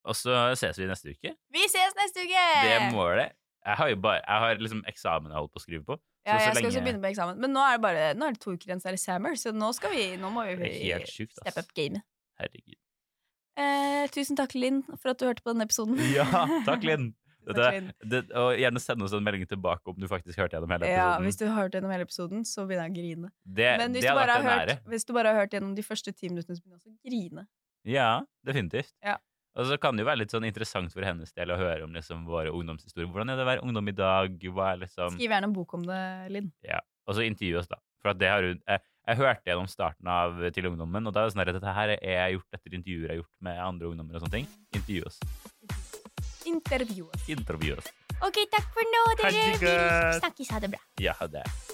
Speaker 1: Og så ses vi neste uke.
Speaker 2: Vi ses neste uke!
Speaker 1: Det er målet. Jeg har jo bare Jeg har liksom eksamen jeg holder på å skrive på.
Speaker 2: Ja,
Speaker 1: så
Speaker 2: jeg skal
Speaker 1: lenge-
Speaker 2: også begynne på eksamen. Men nå er det bare Nå er det to uker igjen, så er det summer, så nå skal vi Nå må
Speaker 1: Det
Speaker 2: vi
Speaker 1: er helt sjukt,
Speaker 2: step
Speaker 1: ass.
Speaker 2: up gamet.
Speaker 1: Herregud.
Speaker 2: Eh, tusen takk, Linn, for at du hørte på denne episoden.
Speaker 1: Ja, takk, Linn.
Speaker 2: Tusen
Speaker 1: Dette-
Speaker 2: takk, Linn.
Speaker 1: Det, og gjerne send oss en melding tilbake om du faktisk hørte gjennom hele
Speaker 2: Ja,
Speaker 1: episoden.
Speaker 2: hvis du har hørt gjennom hele episoden, så begynner jeg å grine.
Speaker 1: det,
Speaker 2: Men hvis du,
Speaker 1: det hadde
Speaker 2: bare
Speaker 1: vært en
Speaker 2: har
Speaker 1: ære.
Speaker 2: hørt, hvis du bare har hørt gjennom de første ti minuttene, så begynner jeg også å grine.
Speaker 1: Ja, definitivt.
Speaker 2: Ja.
Speaker 1: Og så kan det jo være litt sånn interessant for hennes del å høre om liksom våre ungdomshistorier. Hvordan er det å være ungdom i dag? Hva er liksom
Speaker 2: Skriv gjerne en bok om det, Linn.
Speaker 1: Og så intervjue oss, da. For at det har hun jeg, jeg hørte gjennom starten av Til ungdommen, og da er det sånn at dette her er jeg gjort etter intervjuer jeg har gjort med andre ungdommer og sånne ting. Intervjue oss.
Speaker 2: Intervjuet.
Speaker 1: Intervjue oss.
Speaker 3: OK, takk for nå, dere. Vi
Speaker 1: Herregud.
Speaker 3: snakkes. Ha det bra.
Speaker 1: Ja, det er